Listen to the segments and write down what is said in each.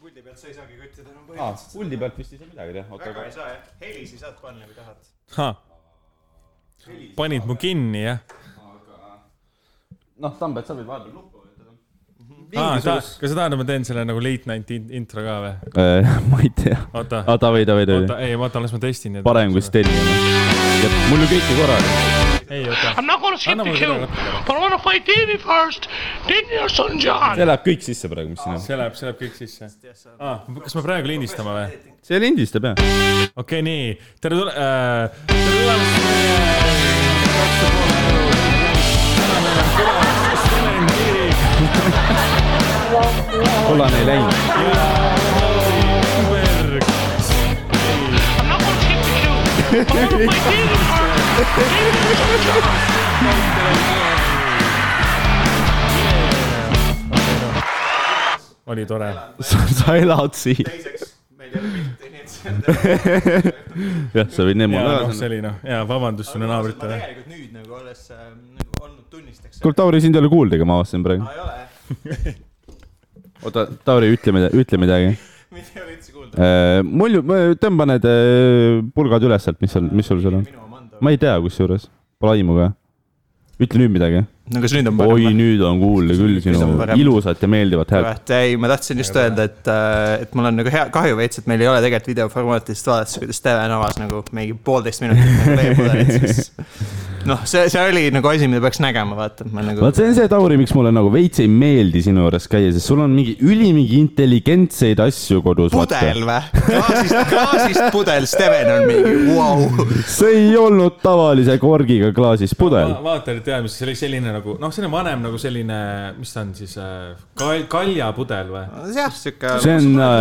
puldi pealt sa ei saagi küttida enam aa , põhimõtteliselt . puldi pealt vist ei saa midagi teha , oota , väga ei aga saa jah , helisi saad panna , kui tahad . panid mu kinni , jah ? noh , Tambet , sa võid vahepeal nuppu vajutada . aa , ta , mingisugust , kas sa tahad , et ma teen selle nagu leitnanti in- intro ka või ? Äh, ma ei tea , oota , aa , Davai , Davai , oota Davai ,, ei , oota , las ma testin . parem kui . Sten . mul ju kõike korraga . ei , oota I'm not gonna skip Anna the mulle queue, seda but I wanna fight Davy first, then your son John. see läheb kõik sisse praegu , mis siin on . see läheb , see läheb kõik sisse . aa , kas me praegu lindistame või ? see lindistab jah . okei okay, , nii , tere tule- äh, , tere tulemast meie kaks ja pool elu . täna meil on külas Selen Kirik kollane ei läinud . ja Lauri Kuberg . I'm not gonna skip the queue, but I wanna fight Davy first, then your son John. oli tore . sa elad siin . teiseks , me ei tea mitte , nii et see on tegelikult jah , sa võid need ja mulle noh , öelda . see oli noh , ja vabandust sinu ma naabritele . tegelikult nüüd nagu alles äh, nagu olnud tunnistajaks . kuule , Tauri , sind ei ole kuulda , ega ma avastasin praegu . aa , ei ole , oota , Tauri , ütle midagi , ütle midagi . mind ei ole üldse kuulda . mul ju , tõmba need äh, pulgad üles sealt , mis seal , mis sul seal on . minu Amanda . ma ei tea , kusjuures , pole aimu ka . ütle nüüd midagi . no kas nüüd on oi ,? nüüd on kuulda küll sinu on parem. ilusat ja meeldivat häält . et ei , ma tahtsin just öelda , et , et mul on nagu hea , kahju veits , et meil ei ole tegelikult videoformaati , sest vaadates , kuidas Steven avas nagu mingi poolteist minutit nagu veepudelit , siis noh , see , see oli nagu asi , mida peaks nägema , vaata , et ma nagu vaat see on see , Tauri , miks mulle nagu veits ei meeldi sinu juures käia , sest sul on mingi ülimingi intelligentseid asju kodus . pudel või ? klaasist , klaasist pudel , Steven on mingi , vau . see ei olnud tavalise korgiga klaasis pudel . vaatajad teavad , mis see oli selline nagu , noh , selline vanem nagu selline , mis ta on siis äh, , kal- , kaljapudel või ? Äh, jah , sihuke , see on äh, ,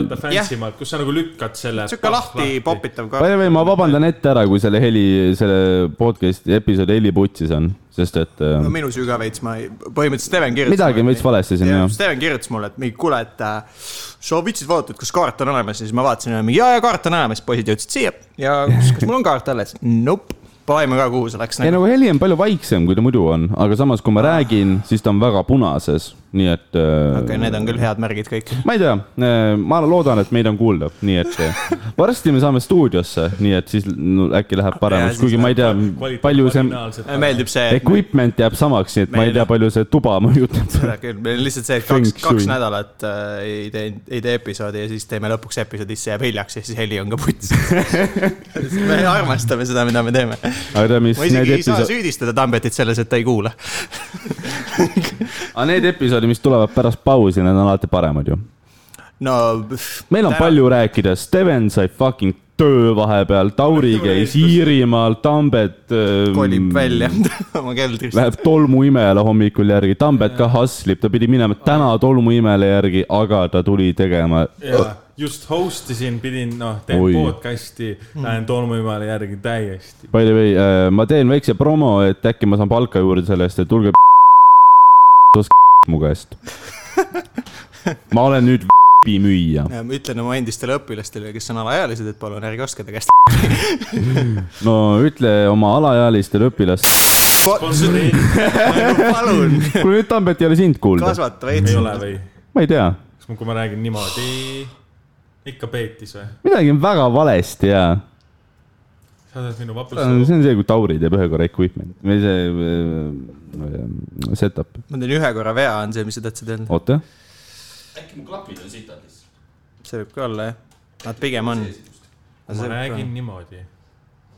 vaata fancy maalt , kus sa nagu lükkad selle . sihuke lahti . popitav ka by . the way , ma vabandan ette ära , kui selle heli , selle podcast'i episoodi heli putsis on , sest et äh, no minu süü ka veits , ma ei , põhimõtteliselt Steven kirjutas . midagi on veits valesti siin ja jah . Steven kirjutas mulle , et mingi kuule , et äh, sa viitsid vaadata , et kas kaart on olemas ja siis ma vaatasin ja mingi jaa , jaa kaart on olemas , poisid jõudsid siia ja kas, kas mul on kaart alles ? Nope , pole aimu ka , kuhu see läks ei nagu. . nagu heli on palju vaiksem , kui ta muidu on , aga samas , kui ma räägin , siis ta on väga punases , nii et okei äh, okay, , need on küll head märgid kõik . ma ei tea , ma loodan , et meid on kuulda , nii et eh, varsti me saame stuudiosse , nii et siis no, äkki läheb paremaks , siis kuigi ma ei tea , palju see Äh, meeldib see , et equipment jääb samaks , nii et ma ei tea , palju see tuba mõjutab . seda küll , meil on lihtsalt see , et Feng kaks , kaks shui. nädalat äh, ei tee , ei tee episoodi ja siis teeme lõpuks episoodisse jääb hiljaks ja siis heli on ka puts . me armastame seda , mida me teeme . aga tead , mis ma isegi need ei saa episood , süüdistada Tambetit selles , et ta ei kuula . aga need episoodid , mis tulevad pärast pausi , need on alati paremad ju . no . meil on palju rääkida , Steven sai fucking töö vahepeal , Tauri käis Iirimaal , Tambet äh, kolib välja oma keldrist . Läheb tolmuimejale hommikul järgi , Tambet ka haslib , ta pidi minema täna tolmuimele järgi , aga ta tuli tegema jaa , just host isin , pidin , noh , teen Oi. Oi. podcast'i , Mm. lähen tolmuimale järgi täiesti . By the way , ma teen väikse promo , et äkki ma saan palka juurde selle eest , et tulge mu käest . ma olen nüüd müüja . ma ütlen oma endistele õpilastele , kes on alaealised , et palun ärge ostke ta käest . no ütle oma alaealistele õpilastele . ei palun , kuule nüüd Tambet ei ole sind kuulda . kasvata veits . ole või ? ma ei tea , kas ma , kui ma räägin niimoodi , ikka peetis või ? midagi on väga valesti ja sa oled minu see vapeldav . on see , kui Tauri teeb ühe korra equipment või see äh, äh, setup . ma teen ühe korra vea , on see , mis sa tahtsid öelda . oota , see võib ka olla , jah . Nad pigem on . ma räägin . niimoodi .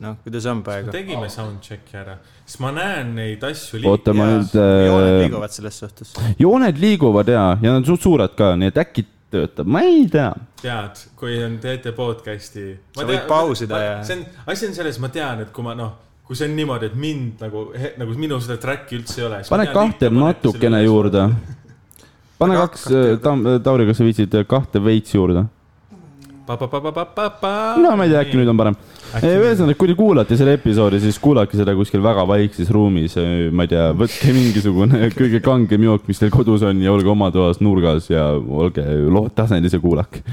noh , kuidas on praegu ? tegime soundcheck'i ära , siis ma näen neid asju . oota ma jaa. nüüd jooned äh, , liiguvad selles suhtes . jooned liiguvad ja , ja nad on suht suured ka , nii et äkki töötab , ma ei tea tead , kui on , teete podcast'i . Sa võid pausida ja- see on , asi on selles , ma tean , et kui ma noh , kui see on niimoodi , et mind nagu , nagu minu seda track'i üldse ei ole . pane kahte natukene . juurde . pane kaks , Tauri , kas sa viitsid äh, kahte veits juurde ? no ma ei tea , äkki nüüd on parem . ühesõnaga , kui te kuulate selle episoodi , siis kuulake seda kuskil väga vaikses ruumis , ma ei tea , võtke mingisugune kõige kangem jook , mis teil kodus on ja olge oma toas nurgas ja olge lood tasandis ja kuulake .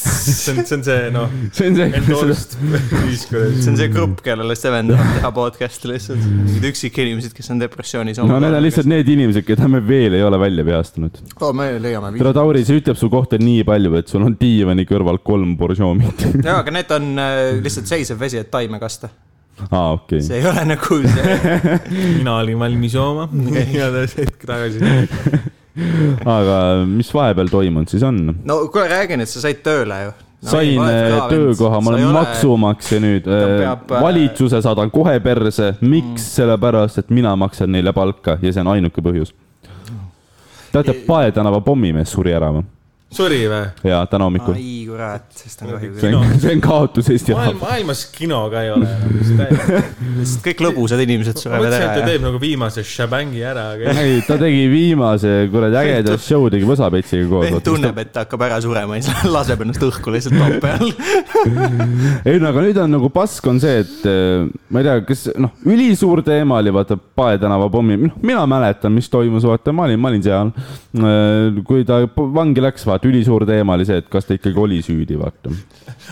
see on , see on see noh , see on see , endorst viis kuradi see . on see grupp , kellele Steven tahab teha podcast'e lihtsalt , mingid üksikinimesed , kes on depressioonis . no need on lihtsalt . need inimesed , keda me veel ei ole välja peastanud . oo , me leiame viis . tere , Tauri , see ütleb su kohta nii palju , et sul on diivani kõrval kolm boržoomit . jaa , aga need on äh, lihtsalt seisev vesi , et taime kasta . aa , Ah, okei see ei ole nagu see , mina olin valmis jooma , igatahes hetk tagasi . aga mis vahepeal toimunud siis on ? no kuule , räägi nüüd , sa said tööle ju no, . sain äh, töökoha , ma olen . maksumaksja nüüd Ta . peab, äh, Mm. valitsuse saadan kohe perse , miks ? sellepärast , et mina maksan neile palka ja see on ainuke põhjus . teate , Pae tänava pommimees suri ära või ? sori või ? jaa , täna hommikul . ai kurat , sest on kahju see . on , see on kaotus Eesti maailm , rahval . maailmas kino ka ei ole enam , mis tähendab . lihtsalt kõik lõbusad inimesed ma surevad ära mõtlesin , et ta ja . teeb nagu viimase shabangi ära , aga ei , ta tegi viimase kuradi ägeda show tegi Võsapetsiga vend koos . tunneb , et ta hakkab ära surema ja siis laseb ennast õhku lihtsalt too peal . ei no aga nüüd on nagu pask on see , et eh, ma ei tea , kas noh , ülisuur teema oli vaata Pae tänava pommi , noh , mina mäletan , mis toimus , vaata , ma olin , ma olin seal . kui ta p- vangi läks , vaata , ülisuur teema oli see , et kas ta ikkagi oli süüdi , vaata .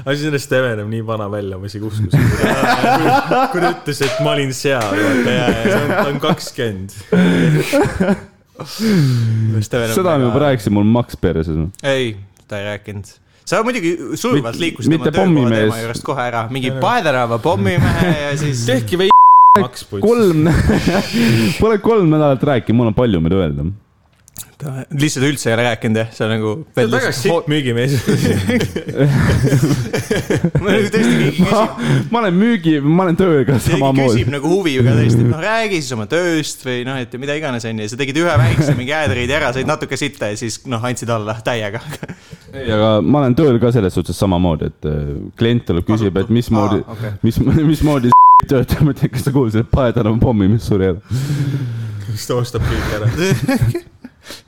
aga siis ennast Steven näeb nii vana välja , ma isegi uskusin . kui ta ütles , et ma olin seal , vaata ja , ja see on- ta on kakskümmend . seda me juba . rääkisime , mul maks perses . ei , ta ei rääkinud . sa muidugi sujuvalt Mitte- liikusid oma mitte töökoha teema pommimees. juurest kohe ära , mingi Paedenava pommimehe ja siis . tehke veidi maks poiss . kolm , pole kolm nädalat rääkinud , mul on palju , mida öelda . ta lihtsalt üldse ei ole rääkinud jah , see on nagu . ta on väga sitt müügimees . tõesti keegi küsib , ma olen müügi , ma olen tööga keegi samamoodi küsib . nagu huviga tõesti , et noh , räägi siis oma tööst või noh , et mida iganes onju , sa tegid ühe väikse mingi ad-read'i ära , said natuke sitta ja siis noh , andsid alla täiega . ei , aga ma olen tööl ka selles suhtes samamoodi , et äh, klient tuleb , küsib , et mismoodi Aa, Ah, okei. , mis , mismoodi s- töötab , ma ütlen , kas sa kuulsid , et Pae tänava pommi , mis suri ära . siis ta ostab kõik ära .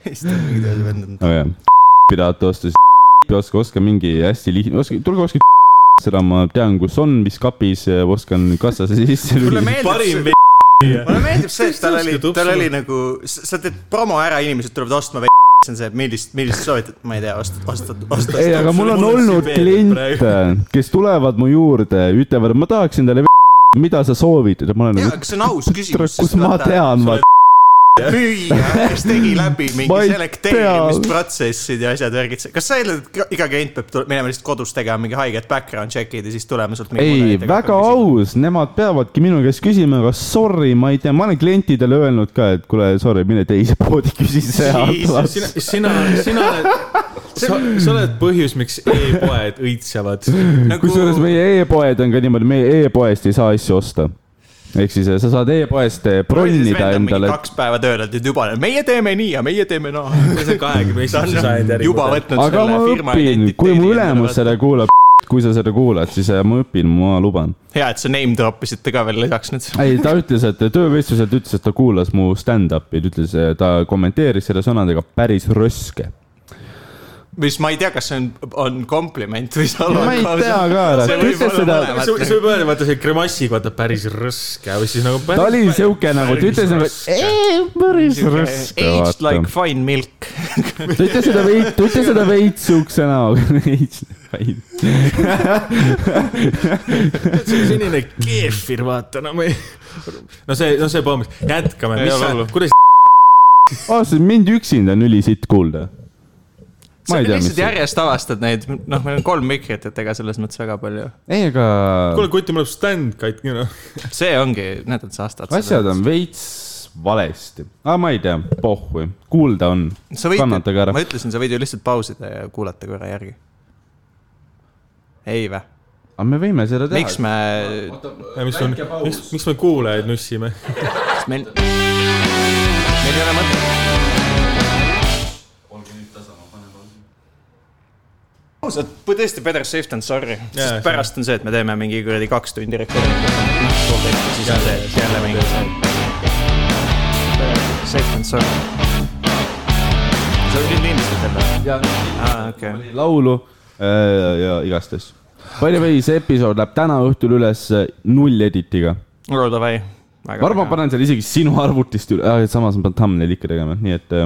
siis ta mingi töös vend on . aga jah , pidavad osta , siis oska , oska mingi hästi lihtne , oska , tulge ostke seda ma tean , kus on , mis kapis , oskan kassasse sisse mulle lülitada . meeldib parim see , mulle meeldib see , et tal oli , tal oli nagu , sa teed promo ära , inimesed tulevad ostma , see on see , millist , millist soovitad , ma ei tea , ostad , ostad , ostad . ei , aga mul on olnud kliente , kes tulevad mu juurde , ütlevad , ma tahaksin talle , mida sa soovid , ma olen jaa , nagu , aga see on aus küsimus . kus ma tean , vaata . müüja , kes tegi läbi mingi Ma ei selekteerimisprotsessid ja asjad värgid . kas sa eeldad , et iga klient peab tule- minema lihtsalt kodus tegema mingi haiget background check'id ja siis tulema sealt mingi ei , mudelitega väga hakkama küsima? aus , nemad peavadki minu käest küsima , aga sorry , ma ei tea , ma olen klientidele öelnud ka , et kuule , sorry , mine teise poodi küsi see atlas . nagu- sina , sina , sina oled , sa, sa oled põhjus , miks e-poed õitsevad . Nagu kusjuures meie e-poed on ka niimoodi , meie e-poest ei saa asju osta . ehk siis eh, sa saad e-poest eh, Proovitses bronnida vend on mingi endale . kaks päeva tööl , et nüüd juba , meie teeme nii ja meie teeme naa no. . see on kahekümne ta on esimese sajandi äri . juba võtnud aga selle ma firma õpin , kui mu ülemus endale seda kuulab , kui sa seda kuulad , siis eh, ma õpin , ma luban . võtta. hea , et sa name drop isid ka veel lisaks nüüd . ei , ta ütles , et töövestluselt ütles , et ta kuulas mu stand-up'i , ta ütles , ta kommenteeris selle sõnadega päris röske mis ma ei tea , kas see on , on kompliment või No salvang . ma ei tea ka, ära. see Ta võib ütles olla seda- sa mõlemat . sa võib öelda , vaata see grimassiga , vaata päris rõske või siis nagu ta oli päris . siuke nagu , ta ütles nagu , et ei , päris raske Eh, Aged vaata like . fine milk . ta ütles seda veits , ta ütles seda veits siukse näoga . Aged like fine . see on selline keefir , vaata , no ma ei . no see , no see pommis , jätkame , Ei mis ole sa hullu. , kuidas ausalt , Ah, mind üksinda on ülisitt kuulda . ma sa ei tea , mis lihtsalt see . järjest avastad neid , noh , meil on kolm mikrit , et ega selles mõttes väga palju . ei , aga kuule , kuti mul on stand katki , noh . see ongi , näed , et sa astad . asjad on . veits valesti . aga ma ei tea , pohhui , kuulda on . sa võid , kannatage ära ma . ütlesin , sa võid ju lihtsalt pausida ja kuulata korra järgi . ei vä ? aga Ah, me võime seda teha . miks me , mis on , miks , miks me kuulajaid nussime ? meil , meil ei ole mõtet . ausalt , tõesti better safe than sorry , Jaa, see- sest pärast on see , et me teeme mingi kuradi kaks tundi rekordi . poolteist ja siis on see , et jälle mingi . Safe than sorry . sa võid lindistada jälle ? aa , okei . laulu äh, ja igast asju . By the way , see episood läheb täna õhtul üles äh, null editiga no davai . ma arvan , ma panen selle isegi sinu arvutist üle , samas ma pean thumbnail ikka tegema , nii et äh,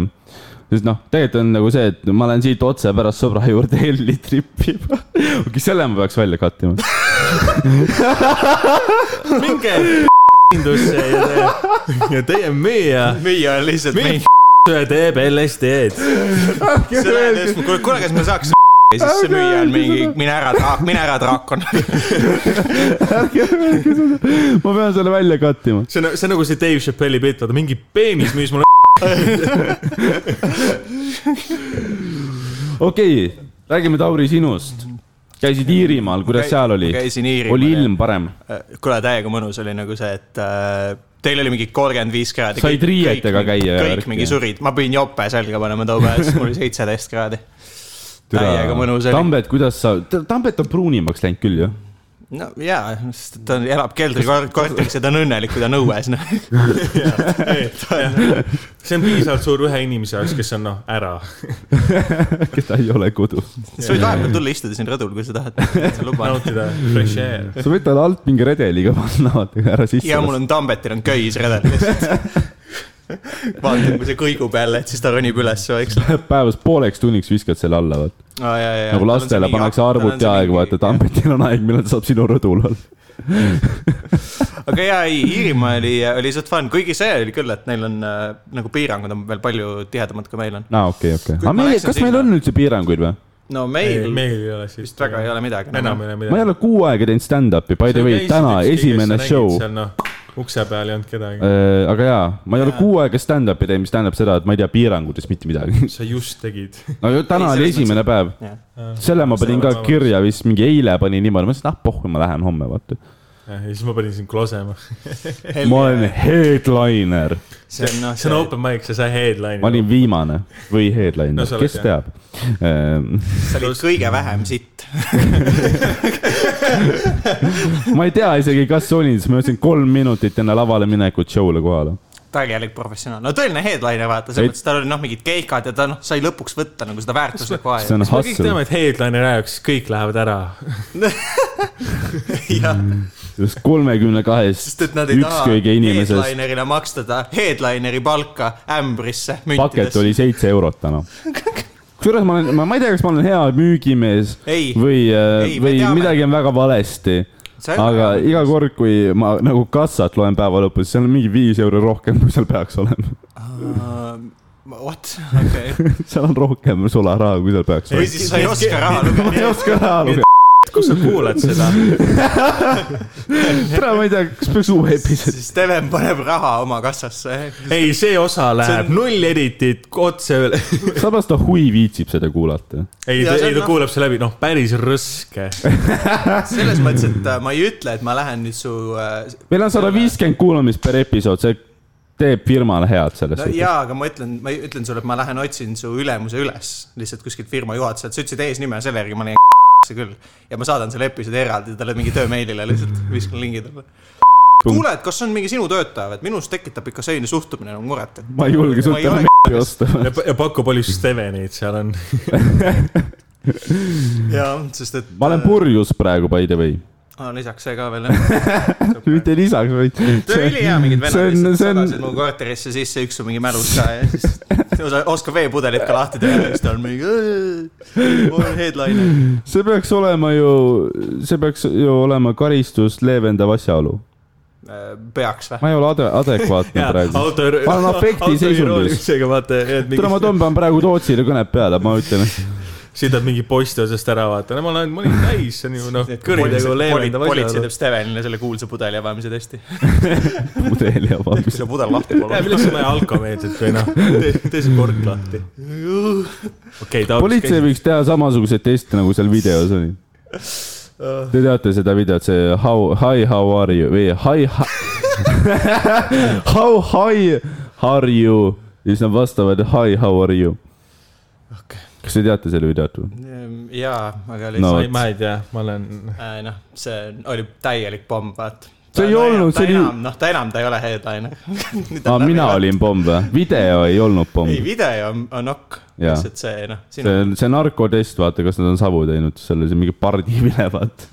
sest noh , tegelikult on nagu see , et ma lähen siit otse pärast sõbra juurde Elli tripima . okei , selle ma peaks välja cut ima . minge hindusse ja te , ja teie müüja , müüa on lihtsalt Müüa- mingi . teeb LSD-d . kuule , kuule , kas me saaks ja siis see müüja on mingi , mine ära , mine ära , draakon . ma pean selle välja cut ima . see on , see on nagu see Dave Chappelli pilt , vaata mingi peenis müüs mulle . okei okay, , räägime Tauri sinust . käisid Iirimaal , kuidas seal oli ? käisin Iirimaal, oli jah. ilm parem ? kuule , Äh, täiega mõnus oli nagu see , et äh, teil oli mingi kolmkümmend viis kraadi . Said riietega käia ja ja värki . värki, kõik mingi jah. surid , ma pidin jope selga panema too päev , siis mul oli seitseteist kraadi . täiega mõnus oli . Tambet , kuidas sa , Tambet on pruunimaks läinud küll ju . no jaa , sest ta elab keldrikorteris ja ta on õnnelik , kui ta on õues , noh . see on piisavalt suur ühe inimese jaoks , kes on noh , ära . keda ei ole kodus . sa võid vahepeal tulla istuda siin rõdul , kui sa tahad , luban . nautida fresh air . sa võid talle alt mingi redeliga panna , vaata ära sisse . ja mul on Tambetil on köis redel lihtsalt . vaatan , kui see kõigub jälle , et siis ta ronib üles vaikselt . päevas pooleks tunniks viskad selle alla , vaata . nagu nagu lastele pannakse arvuti aeg , vaata , Tambetil on aeg , millal ta saab sinu rõdul olla . aga jaa , ei , Iirimaa oli , oli suht fun , kuigi see oli küll , et neil on äh, nagu piirangud on veel palju tihedamad kui meil on . aa , okei , okei . Kui aga ma meil , läksin kas meil sinna- on üldse piiranguid või ? no meil, meil meil ei ole siis . vist väga ei ole midagi . noh, enam ei ole ma ei midagi . ole kuu aega teinud stand-up'i , by the way , täna esimene show . noh , ukse peal ei olnud kedagi . aga jaa , ma ei ole kuu aega stand-up'i teinud , mis tähendab seda , et ma ei tea piirangutest mitte midagi . sa just tegid . no ju täna Ei, oli selles esimene päev , jah , selle ma panin ka Selles mõttes- kirja vist mingi eile panin niimoodi , ma ütlesin , ah pohhu , ma lähen homme , vaata . ja siis ma panin sind klosema . ma olen headliner , see on noh , see on open mic , sa sai headline'i . ma olin viimane või No headliner sa , oled, kes jah. teab Ehm, sa olid kõige vähem sitt . ma ei tea isegi , kas olin , siis ma jõudsin kolm minutit enne lavale minekut show'le kohale . täielik professionaal , no tõeline headliner vaata , selles Ei- mõttes tal oli noh , mingid keikad ja ta noh , sai lõpuks võtta nagu seda väärtuslikku see aega . on noh, kas me kõik hustle teame , et headline'i ajaks kõik lähevad ära ? jah , mm, sellest kolmekümne kahest sest et nad ei taha ükskõige inimesest . headlinerile maksta ta headlineri palka ämbrisse . paket oli seitse eurot täna . kusjuures ma olen , ma ei tea , kas ma olen hea müügimees Ei. või , Ei, me või teame. midagi on väga valesti . See on aga väga- iga kord , kui ma nagu kassat loen päeva lõpus , seal on mingi viis euri rohkem , kui seal peaks olema . What , okei . seal on rohkem sularaha , kui seal peaks või olema . siis sa ei oska raha lugeda . ma ei oska raha lugeda . kus sa kuulad seda ? täna ma ei tea , kas peaks uue episoodi . siis Steven paneb raha oma kassasse . ei , see osa läheb null editit otse üle . samas ta huvi viitsib seda kuulata ei , Ja see ei on ta noh- kuulab see läbi , noh , päris rõske . selles mõttes , et äh, ma ei ütle , et ma lähen nüüd su äh, meil on sada viiskümmend kuulamist per episood , see teeb firmale head selles no suhtes . jaa , aga ma ütlen , ma ütlen sulle , et ma lähen otsin su ülemuse üles lihtsalt kuskilt firma juhatuselt , sa ütlesid eesnime , selle järgi ma leian see küll . ja ma saadan selle episoodi eraldi talle mingi töömeilile lihtsalt , viskan lingi talle . kuule , et kas on mingi sinu töötaja või , et minus tekitab ikka selline suhtumine nagu muret , et . ma ei julge sult enam m***i osta . ja pakub palju Stevenit , seal on . jaa , sest et . ma olen . purjus praegu by the way . lisaks see ka veel jah . mitte lisaks , vaid . see on ülihea , mingid see venelad on , lihtsalt see on , sadasid mu korterisse sisse , üks on mingi mälus ka ja siis osa- oskab veepudelit ka lahti teha ja siis ta on mingi . ma olen headliner . see peaks olema ju , see peaks ju olema karistust leevendav asjaolu . Äh, peaks või ? ma ei ole ade- , adekvaatne praegu . autor . Ma olen afekti seisundis. . vaata , et tule , ma mingi , tõmban praegu Tootsile kõned peale , ma ütlen . sõidab mingi posti otsast ära , vaata , no ma olen , ma olin täis , see on ju noh , kuritegu leevendav politsei asjaolu teeb . Stevenile selle kuulsa pudeli avamise testi . pudeli avamist . selle pudel lahti ja palun . millest sa näe alkomeelset või noh , tee see kork lahti . okei , ta . politsei võiks teha samasuguseid teste , nagu seal videos oli . Te teate seda videot , see how , hi , how are you või hi , how high are you ja siis nad vastavad hi , how are you . kas te teate selle videot või ? Ehm, jaa , aga No lihtsalt ei , ma ei tea , ma olen , no. , noh , see oli täilik pomm , vaata . See ei olnud, see see oli- oli . noh , ta enam , ta ei ole headliner aa , Ah, mina . olin pomm või ? video ei olnud pomm . ei , video on , on ok , Jaa. lihtsalt see noh , sinu see , see narkotest , vaata , kas nad on savu teinud selle , see mingi pardivilevad .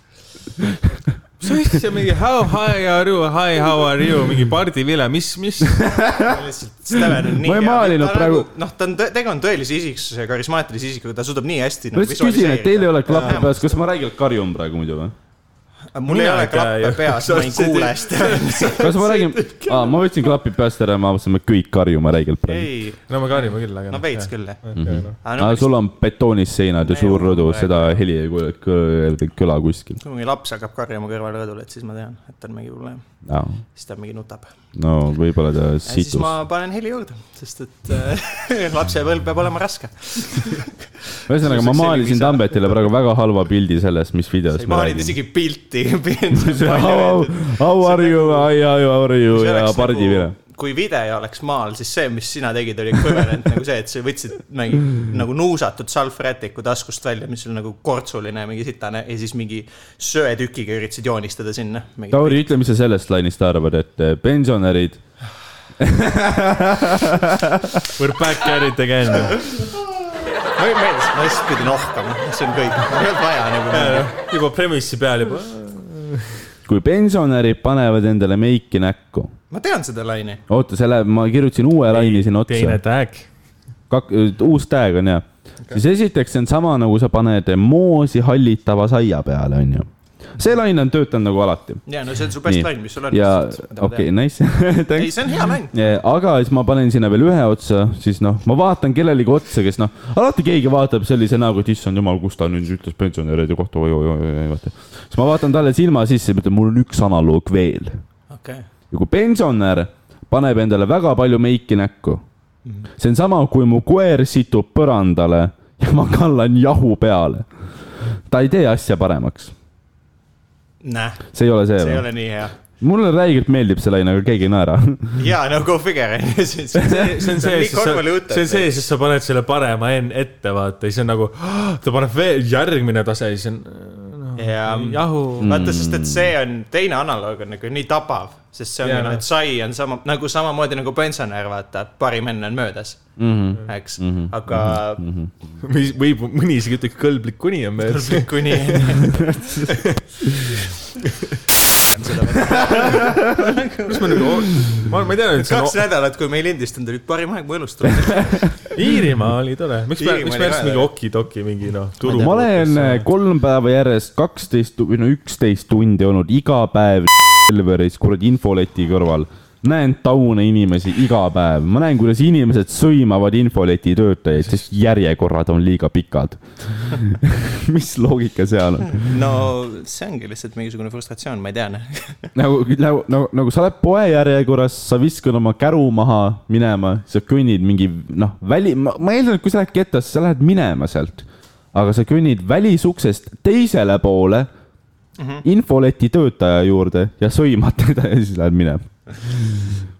mis asja , mingi how high are you , hi how are you , mingi pardivile , mis , mis ? lihtsalt Steven on nii Ma ei maalinud ta praegu- nagu, . noh , ta on , tegu on tõelise isiksuse , karismaatilise isikuga , ta suudab nii hästi . nagu ma lihtsalt küsin , et teil ei ole klappi . peas , kas ma räägin karjun praegu muidu või ? mul ei Mina ole ei tea klappe ju. peas , ma ei Sa- kuule hästi . kas ma räägin , aa , ma võtsin klapid peast ära ja me hakkasime kõik karjuma räigelt praegu . ei , no me karjume küll , aga . no veits . küll jah . noh. aga no aga sul on betoonis seinad ja suur rõdu , seda heli ei kuule , kõla kuskil . kui mingi laps hakkab karjuma kõrval rõdul , et siis ma tean , et on mingi probleem , siis ta mingi nutab . no võib-olla ta ja siis situs . ma panen heli juurde , sest et äh, lapsepõlv peab olema raske . ühesõnaga , ma maalisin Tambetile praegu väga halva pildi sellest , mis videos ma maalid räägin . isegi nagu- pilti . How , how are you , I are you nagu- ja pardi vile . kui video oleks maal , siis see , mis sina tegid , oli equivalent nagu see , et sa võtsid mingi nagu nuusatud salvrätiku taskust välja , mis oli nagu kortsuline , mingi sitane ja siis mingi söetükiga üritasid joonistada sinna . Tauri , ütle , mis sa sellest lainist arvad , et eh, pensionärid We are back at it again . ma ei meeldi , ma lihtsalt pidin ohkama , see on kõik , ei olnud vaja nagu . juba premise'i peal juba . kui pensionärid panevad endale meiki näkku . ma tean seda laine . oota , selle , ma kirjutasin uue laine sinna teine otsa . tag . kak- , uus tag on ja okay. . siis esiteks see on sama , nagu sa paned moosi hallitava saia peale , on ju . see laine on töötanud nagu alati . ja no see on su best laine , mis sul on . ja okei , nice , ei , thanks . see on hea laine . aga siis ma panen sinna veel ühe otsa , siis noh , ma vaatan kellelegi otsa , kes noh , alati keegi vaatab sellise näoga , et issand jumal , kus ta nüüd ütles pensionäride kohta , oi-oi-oi , vaata . siis ma vaatan talle silma sisse ja mõtlen , mul on üks analoog veel okei , ja kui pensionär paneb endale väga palju meiki näkku , Mhm. see on sama , kui mu koer situb põrandale ja ma kallan jahu peale . ta ei tee asja paremaks , näe , see ei ole see, see ei see . ole nii hea . mulle räigelt meeldib see laine , aga keegi ei naera . ja no go figure . see see on see , sest sa , see on see , sest sa paned selle parema enne ette , vaata , siis on nagu , ta paneb veel järgmine tase , siis on ja jahu . Mm. vaata , sest et see on , teine analoog on nagu nii tabav , sest see on Jaa. yeah. , et sai on sama , nagu samamoodi nagu pensionär , vaata , parim enne on möödas mm , Mhm. -hmm. eks mm , -hmm. aga mm -hmm. või mõni isegi ütleks kõlblik kuni on mees . kuni . mis ma nüüd , ma , ma ei tea nüüd , see kaks on nädalat , kui meil lindistanud olid , parim aeg mu elust tuli . Iirimaa oli tore , miks me , Iirimaa oli miks me järjest ka mingi tore. okidoki mingi noh , turu . ma olen äh, kolm päeva järjest kaksteist või no üksteist tundi olnud iga päev Selveris kuradi infoleti kõrval näen taune inimesi iga päev , ma näen , kuidas inimesed sõimavad infoleti töötajaid , sest järjekorrad on liiga pikad . mis loogika seal on ? no see ongi lihtsalt mingisugune frustratsioon , ma ei tea , noh . nagu , nagu, nagu , nagu sa oled poe järjekorras , sa viskad oma käru maha minema , sa kõnnid mingi noh , väli , ma ma eeldan , et kui sa lähed ketasse , sa lähed minema sealt , aga sa kõnnid välisuksest teisele poole mm Mhm. -hmm. infoleti töötaja juurde ja sõimad teda ja siis lähed minema .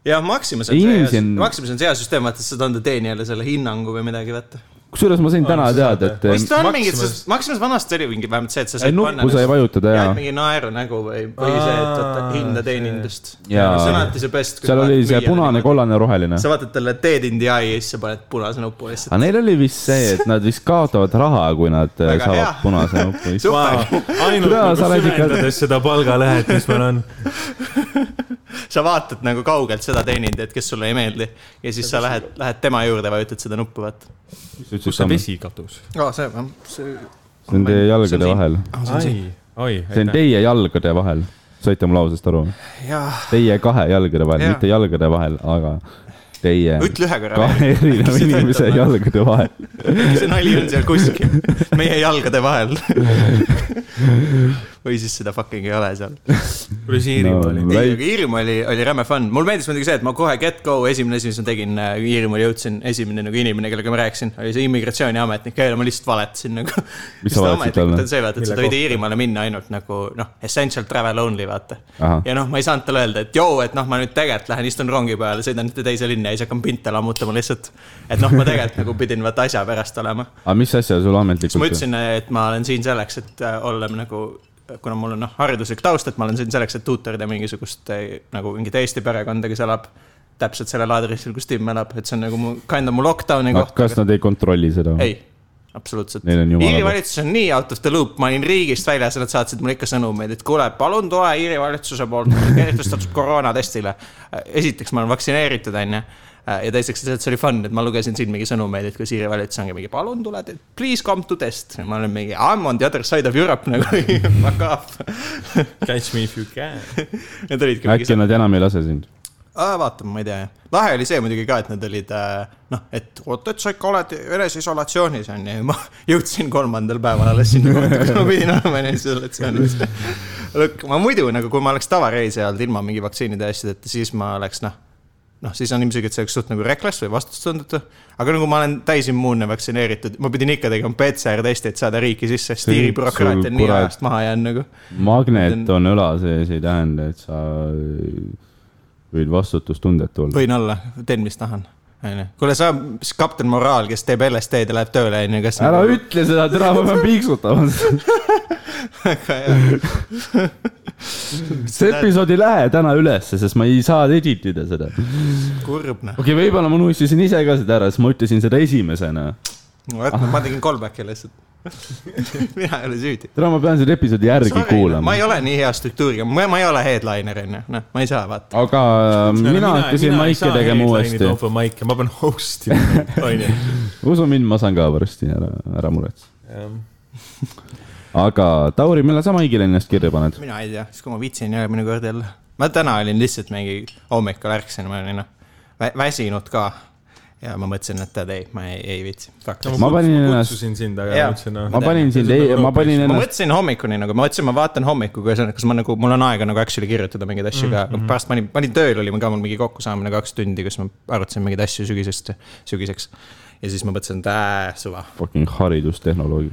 jah , Maximas on see Inimesi hea on- , Maximas on see hea süsteem , vaata , sa tahad teenijale selle hinnangu või midagi , vaata . kusjuures ma sain täna see teada , saate. vist et on Maximas- mingid , Maximas vanasti oli mingi vähemalt see , et sa eh, said nuppu sai lihtsalt- vajutada ja jah , mingi naerunägu või , või see , et vaata Aa, hinda teenindust . see Jaa. on alati see best . seal oli see punane , kollane , roheline . nagu- sa vaatad talle teed in the eye ja siis sa paned punase nupu lihtsalt . aga neil oli vist see , et nad vist kaotavad raha , kui nad eh, Väga hea. saavad punase nuppu . ainult Jaa, nagu sa oled ikka- süvendades seda palgalõhet , mis meil on . sa vaatad nagu kaugelt seda teenindajat , kes sulle ei meeldi ja siis sa lähed , lähed tema juurde , vajutad seda nuppu , vaata . kus see vesi kadus ? aa , see on , see . see on teie jalgade vahel . ai , oi , see on teie jalgade vahel , saite mu lausest aru ? jaa , Teie kahe jalgade vahel , Jaa. mitte jalgade vahel , aga teie ütle ühe korra kahe veel , erineva See inimese töötab. jalgade vahel . see nali on seal kuskil meie jalgade vahel . või siis seda fucking ei ole seal . kuidas Iirimaa oli ? ei , väik- aga Iirimaa oli , oli räme fun , mulle meeldis muidugi see , et ma kohe get go esimene asi , mis ma tegin , kui Iirimaale jõudsin , esimene nagu inimene , kellega ma rääkisin , oli see immigratsiooniametnik , kellele ma lihtsalt valetasin nagu . Mis sa valetasid talle? on see , vaata , et sa Mille tohid kohta? Iirimaale minna ainult nagu noh , essential travel only , vaata Ahah. . ja noh , ma ei saanud talle öelda , et joo , et noh , ma nüüd tegelikult lähen istun rongi peale , sõidan teise linna ja siis hakkan pinta lammutama lihtsalt . et noh , ma tegelikult nagu pidin vaata asja pärast olema aga mis asja sul siis ma ametlikult ? ütlesin , et ma olen siin selleks , et äh, olla nagu , kuna mul on noh , hariduslik taust , et ma olen siin selleks , et tuutorida mingisugust äh, nagu mingit Eesti perekonda , kes elab Ah, täpselt sellel aadressil , kus Tim elab , et see on nagu mu , kind of mu lockdown'i koht . kas nad ei kontrolli seda ? ei , absoluutselt . Neil on jumala Iiri koht. valitsus on nii out of the loop , ma olin riigist väljas ja nad saatsid mulle ikka sõnumeid , et kuule , palun tule Iiri valitsuse poolt kehtestatud koroonatestile . esiteks , ma olen vaktsineeritud , onju . ja teiseks lihtsalt see oli fun , et ma lugesin siin mingi sõnumeid , et kui Iiri valitsus ongi mingi , palun tule , please come to test . ma olen mingi , I m on the other side of Europe nagu , fuck off . Catch me if you can . Need olidki mingi äkki nad enam ei lase sind ? Ah, vaatame , ma ei tea , jah . lahe oli see muidugi ka , et nad olid äh, noh , et oot , et sa ikka oled eneseisolatsioonis on ju , ma jõudsin kolmandal päeval alles sinna kohta , kus ma pidin olema eneseisolatsioonis . Look , ma muidu nagu , kui ma oleks tavareisija olnud ilma mingi vaktsiinide ja asjadeta , siis ma oleks noh , noh , siis on ilmselgelt see oleks suht nagu reckless või vastutustundetu . aga nagu ma olen täisimmuunne vaktsineeritud , ma pidin ikka tegema PCR-testi , et saada riiki sisse , sest Nüüd Iiri bürokraatia on sul nii kurat- ajast maha jäänud nagu . magnet on õla sees , ei tähenda , et sa võid vastutustundetu olla . võin olla , teen , mis tahan , onju . kuule , sa , kapten Moraal , kes teeb LSD-d ja läheb tööle , onju , kas . nagu ära . ütle seda , täna ma pean piiksutama . see episood ei lähe täna ülesse , sest ma ei saa edit ida seda . okei kurb noh . okay, , võib-olla ma unustasin ise ka seda ära , sest ma ütlesin seda esimesena . vot , ma tegin callback'i lihtsalt . mina ei ole süüdi . täna ma pean selle episoodi järgi ma kuulama ei . ole nii hea struktuuriga , ma ma ei ole headliner , onju , noh , ma ei saa vaata . aga ähm, mina hakkasin maike tegema uuesti . maike , ma pean host ima , onju . usu mind , ma saan ka varsti , ära , ära muretse . aga Tauri , millal sa maigile ennast kirja paned ? mina ei tea , siis kui ma viitsin järgmine kord jälle . ma täna olin lihtsalt mingi hommikul ärkasin , ma olin noh , väsinud ka . ja ma mõtlesin , et tead ei , ma ei , ei viitsi . Ma panin ennast- kutsusin sind , aga Jaa. noh. ma mõtlesin , ma panin sind , ma panin ma ennast , mõtlesin hommikuni nagu , ma mõtlesin , ma vaatan hommikul , kas , kas ma nagu , mul on aega nagu actually kirjutada mingeid asju ka mm, . -hmm. pärast ma olin , ma olin tööl , oli mul ka mul mingi kokkusaamine kaks tundi , kus ma arutasin mingeid asju sügisest , sügiseks . ja siis ma mõtlesin , et äh, suva . fucking haridustehnoloog .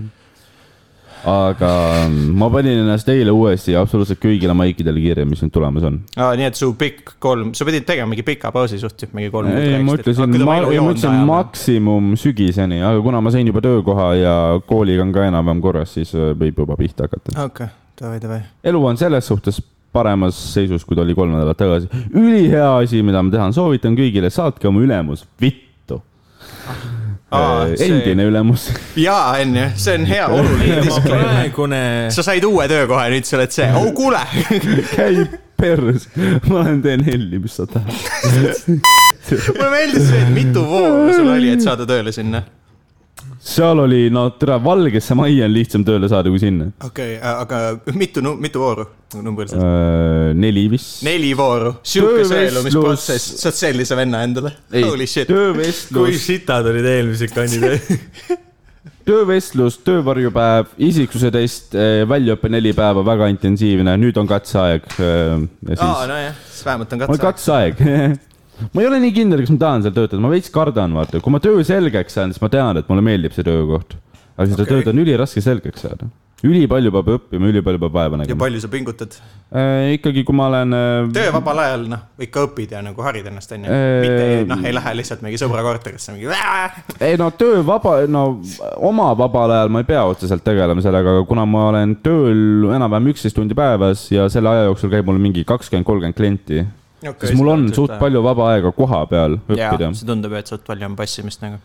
aga ähm, ma panin ennast eile uuesti absoluutselt kõigile maikidele kirja , mis nüüd tulemas on . Ah, nii et su pikk kolm , sa pidid tegema mingi pika pausi suht , mingi kolm . ei , ma ütlesin , ma , ma ütlesin . maksimum sügiseni , aga kuna ma sain juba töökoha ja kooliga on ka enam-vähem korras , siis äh, võib juba pihta hakata . okei , davai , davai . elu on selles suhtes paremas seisus , kui ta oli kolm nädalat tagasi . ülihea asi , mida ma teha soovitan kõigile , saatke oma ülemus vittu . Ah, Aa, see- endine ülemus . jaa , onju , see on hea , oluline disclaimer . praegune , sa said uue töökoha ja nüüd sa oled see , oh kuule . käi perses , ma olen TNL-i , mis sa tahad . mulle meeldis see , et mitu vooru sul oli , et saada tööle sinna seal oli , no tere , valgesse majja on lihtsam tööle saada kui sinna . okei okay, , aga mitu , mitu vooru numbriliselt ? Äh, neli vist . neli vooru , sihuke sõelumisprotsess , saad sellise venna endale . Holy shit , kui töövestlus , sitad olid eelmised kandidaadid . töövestlus , töövarjupäev , isiksuse test , väljaõpe neli päeva , väga intensiivne , nüüd on katseaeg . ja siis aa nojah , siis vähemalt on mul katse . katseaeg . ma ei ole nii kindel , kas ma tahan seal töötada , ma veits kardan , vaata , kui ma töö selgeks saan , siis ma tean , et mulle meeldib see töökoht . aga Okei. seda okay. tööd on üliraske selgeks saada . ülipalju peab õppima , ülipalju peab vaeva ja nägema . palju sa pingutad ? Äh, ikkagi , kui ma olen äh, , töövabal ajal , noh , ikka õpid ja nagu harid ennast , onju . Äh, mitte , noh , ei lähe lihtsalt mingi sõbra korterisse , mingi . ei no töövaba , no oma vabal ajal ma ei pea otseselt tegelema sellega , aga kuna ma olen tööl enam-vähem üksteist tundi päevas ja selle aja jooksul käib mul mingi kakskümmend , kolmkümmend klienti , siis mul on suht . palju vaba aega koha peal jaa , õppida . see tundub , et suht palju on passimist nagu .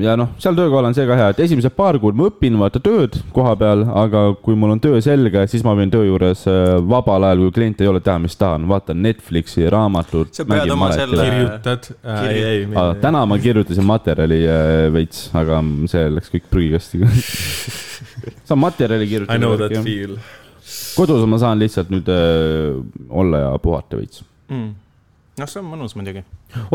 ja noh , seal töökohal on see ka hea , et esimesed paar kuud ma õpin vaata tööd koha peal , aga kui mul on töö selge , siis ma võin töö juures äh, vabal ajal , kui klient ei ole , teha , mis tahan , vaatan Netflixi , raamatut Sa . pead oma selle- kirjutad ? ei , ei , Ah, täna ma kirjutasin materjali äh, veits , aga see läks kõik prügikasti . saan materjali I know that kirjutada . feel . kodus ma saan lihtsalt nüüd äh, olla ja puhata veits . noh , see on mõnus muidugi .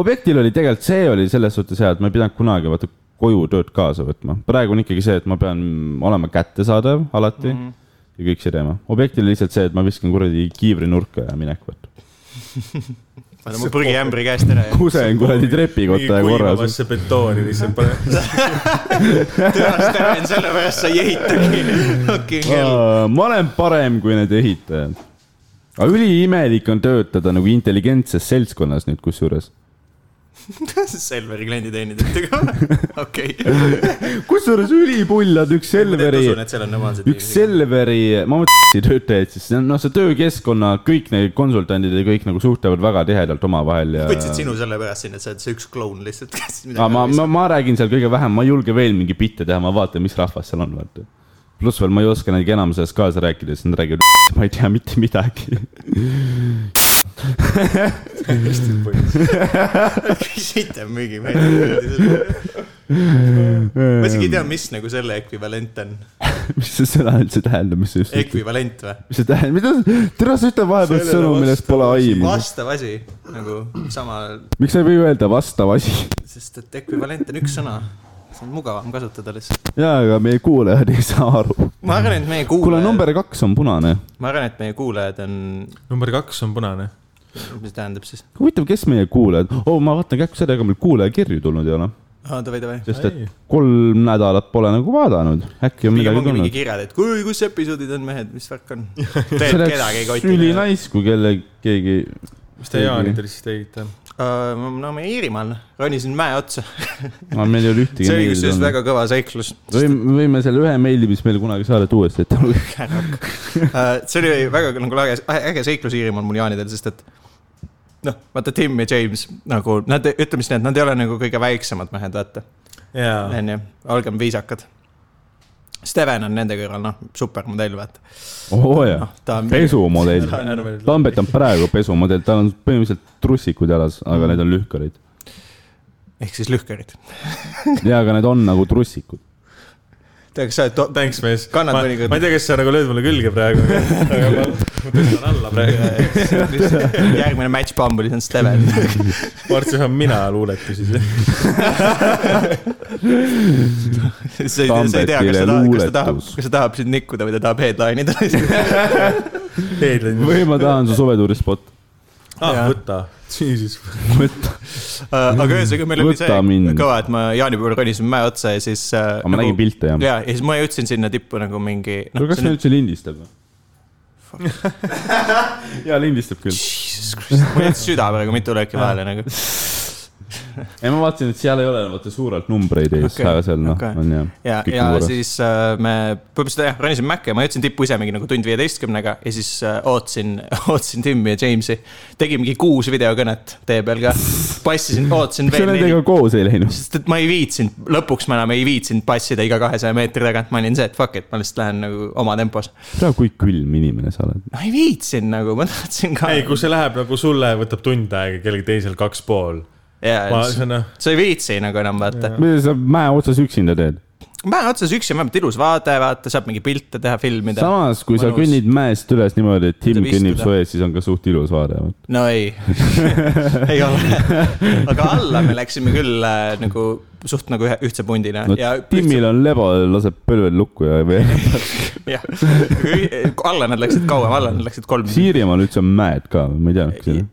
objektil oli tegelikult see oli selles suhtes hea , et ma ei pidanud kunagi vaata koju tööd kaasa võtma . praegu on ikkagi see , et ma pean olema kättesaadav alati Mhm. mm -hmm. ja kõik see teema . objektil oli lihtsalt see , et ma viskan kuradi kiivri nurka ja minek võtta . pane mu prügiämbri käest ära ja kusen kuradi trepikotta ja korras . kuivavasse betooni lihtsalt paned . tööst ära , sellepärast sa ei ehitagi . okei , kell . ma olen parem kui need ehitajad . aga üliimelik on töötada nagu intelligentses seltskonnas nüüd kusjuures . Selveri klienditeenindajatega , okei . kusjuures ülipullad üks Selveri usun , et seal on normaalsed . üks . Selveri , ma mõtlesin töötajaid , siis see on, noh , see töökeskkonna , kõik need konsultandid ja kõik nagu suhtlevad väga tihedalt omavahel ja . võtsid sinu selle pärast sinna , et sa oled see üks kloun lihtsalt , kes aga ma , ma , midagi . ma räägin seal kõige vähem , ma ei julge veel mingi bitte teha , ma vaatan , mis rahvas seal on , vaata . pluss veel ma ei oska nendega enam sellest kaasa rääkida , sest nad räägivad , ma ei tea mitte midagi . küsite müügimehe . ma isegi ei tea , mis nagu selle ekvivalent on . mis see sõna üldse tähendab , mis see just , mis ekvivalent või ? see tähendab , mida , tere , sa ütled vahepeal Sellele sõnu , millest pole aimu . vastav asi nagu sama , miks sa ei või öelda vastav asi ? sest et ekvivalent on üks sõna , see on mugavam kasutada lihtsalt . jaa , aga meie kuulajad ei saa aru . ma arvan , et meie kuule , kuulajad , number kaks on punane . ma arvan , et meie kuulajad on , number kaks on punane . mis tähendab siis ? huvitav , kes meie kuulajad , oo , ma vaatan kähku seda , ega meil kuulajakirju tulnud ei ole , aa , davai , davai . sest et kolm nädalat pole nagu vaadanud , äkki pigem on midagi ongi mingi tulnud . kirjad , et kui , kus episoodid on , mehed , mis värk on ? see tegelikult kedagi ei oleks koti . ülinais , kui kelle , keegi , mis te jaanidel siis tegite ? Äh, no me Iirimaal ronisin mäe otsa . Ah, meil ei ole ühtegi see oli kusjuures meili . väga kõva seiklus . võime , võime selle ühe meili , mis meil kunagi saadet uuesti ette lugeda . Äh, see oli väga nagu äge , äge seiklus Iirimaal mul jaanidel , sest et noh , vaata Tim ja James nagu nad , ütleme siis nii , et nad ei ole nagu kõige väiksemad mehed , vaata , jaa . onju , olgem viisakad . Steven on nende kõrval , noh , supermodell , vaata . oo Oh, jaa , ta on , pesumodell . Tambet on praegu pesumodell , tal on põhimõtteliselt trussikud jalas , aga need on lühkarid . ehk siis lühkerid . jaa , aga need on nagu trussikud . tead , kas sa oled to- Thanks , mees . Kannad ma, mõnikord- ma ei tea , kas sa nagu lööd mulle külge praegu , aga ma, ma tõstan alla praegu . järgmine match Bumble'is on Steven . ma arvasin , see on mina luuletusi . sa ei tea , sa ei tea , kas ta tahab , kas Tambetile ta tahab luuletus. , kas ta tahab sind nikkuda või ta tahab headline ida . headline . või ma tahan su suvetuuri spot . ah , Jaa. võta . Jesus . aga ühesõnaga , meil oli Võta see mind. kõva , et ma jaanipäeval ronisin mäe otsa ja siis . aga ma nägin . pilte jah . ja , ja siis ma jõudsin sinna tippu nagu mingi . no kas see üldse lindistab või ? jaa , lindistab küll . mul jäi süda praegu mitu lööki vahele nagu . ei , ma vaatasin , et seal ei ole vaata suurelt numbreid ees Okei, okay, , aga seal noh okei. okay. , on jah . ja , Kõik ja on korras. siis äh, me põhimõtteliselt jah , ronisin Maca ja ma jõudsin tippu ise mingi nagu tund viieteistkümnega ja siis äh, ootasin , ootasin Timmi ja Jamesi . tegin mingi kuus videokõnet tee peal ka . passisin , ootasin miks sa veel neli nendega koos ei läinud ? sest et ma ei viitsinud , lõpuks ma enam ei viitsinud passida iga kahesaja meetri tagant , ma olin see , et fuck it , ma lihtsalt lähen nagu oma tempos . tea , kui külm inimene sa oled . ma ei viitsinud nagu , ma tahtsin ka . ei , kui see läheb nagu sulle , võtab tund aega , kellelgi teisel kaks pool . ma , jaa , see on noh , sa ei viitsi nagu enam vaata . mida sa mäe otsas üksinda teed ? mäe otsas üksi on vähemalt ilus vaade , vaata , saab mingi pilte teha , filmida . samas , kui sa Mõnus. kõnnid mäest üles niimoodi , et Tim Saab kõnnib istuda. su ees , siis on ka suht ilus vaade . no ei , ei ole . aga alla me läksime küll äh, nagu suht nagu ühe , ühtse pundina no ja . Timil on lebo , laseb põlvel lukku ja veereb . jah , alla nad läksid kauem , alla nad läksid kolm . Siirimaal üldse on mäed ka , ma ei tea , kas see on .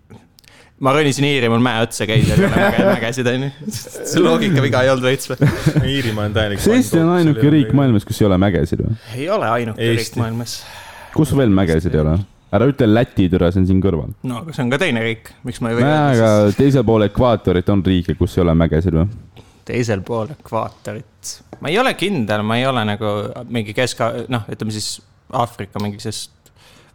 ma ronisin Iirimaal mäe otsa , käis ja mägesid onju . see loogikaviga ei olnud veits või ? Iirimaa on täielik . kas Eesti on ainuke riik . maailmas , kus ei ole mägesid või ? ei ole ainuke riik Eesti. maailmas . kus veel mägesid ei ole ? ära ütle Läti türa , see on siin kõrval . no aga see on ka teine riik , miks ma ei või nojah , öelda aga siis teisel pool ekvaatorit on riike , kus ei ole mägesid või ? teisel pool ekvaatorit . ma ei ole kindel , ma ei ole nagu mingi kesk , noh , ütleme siis Aafrika mingisest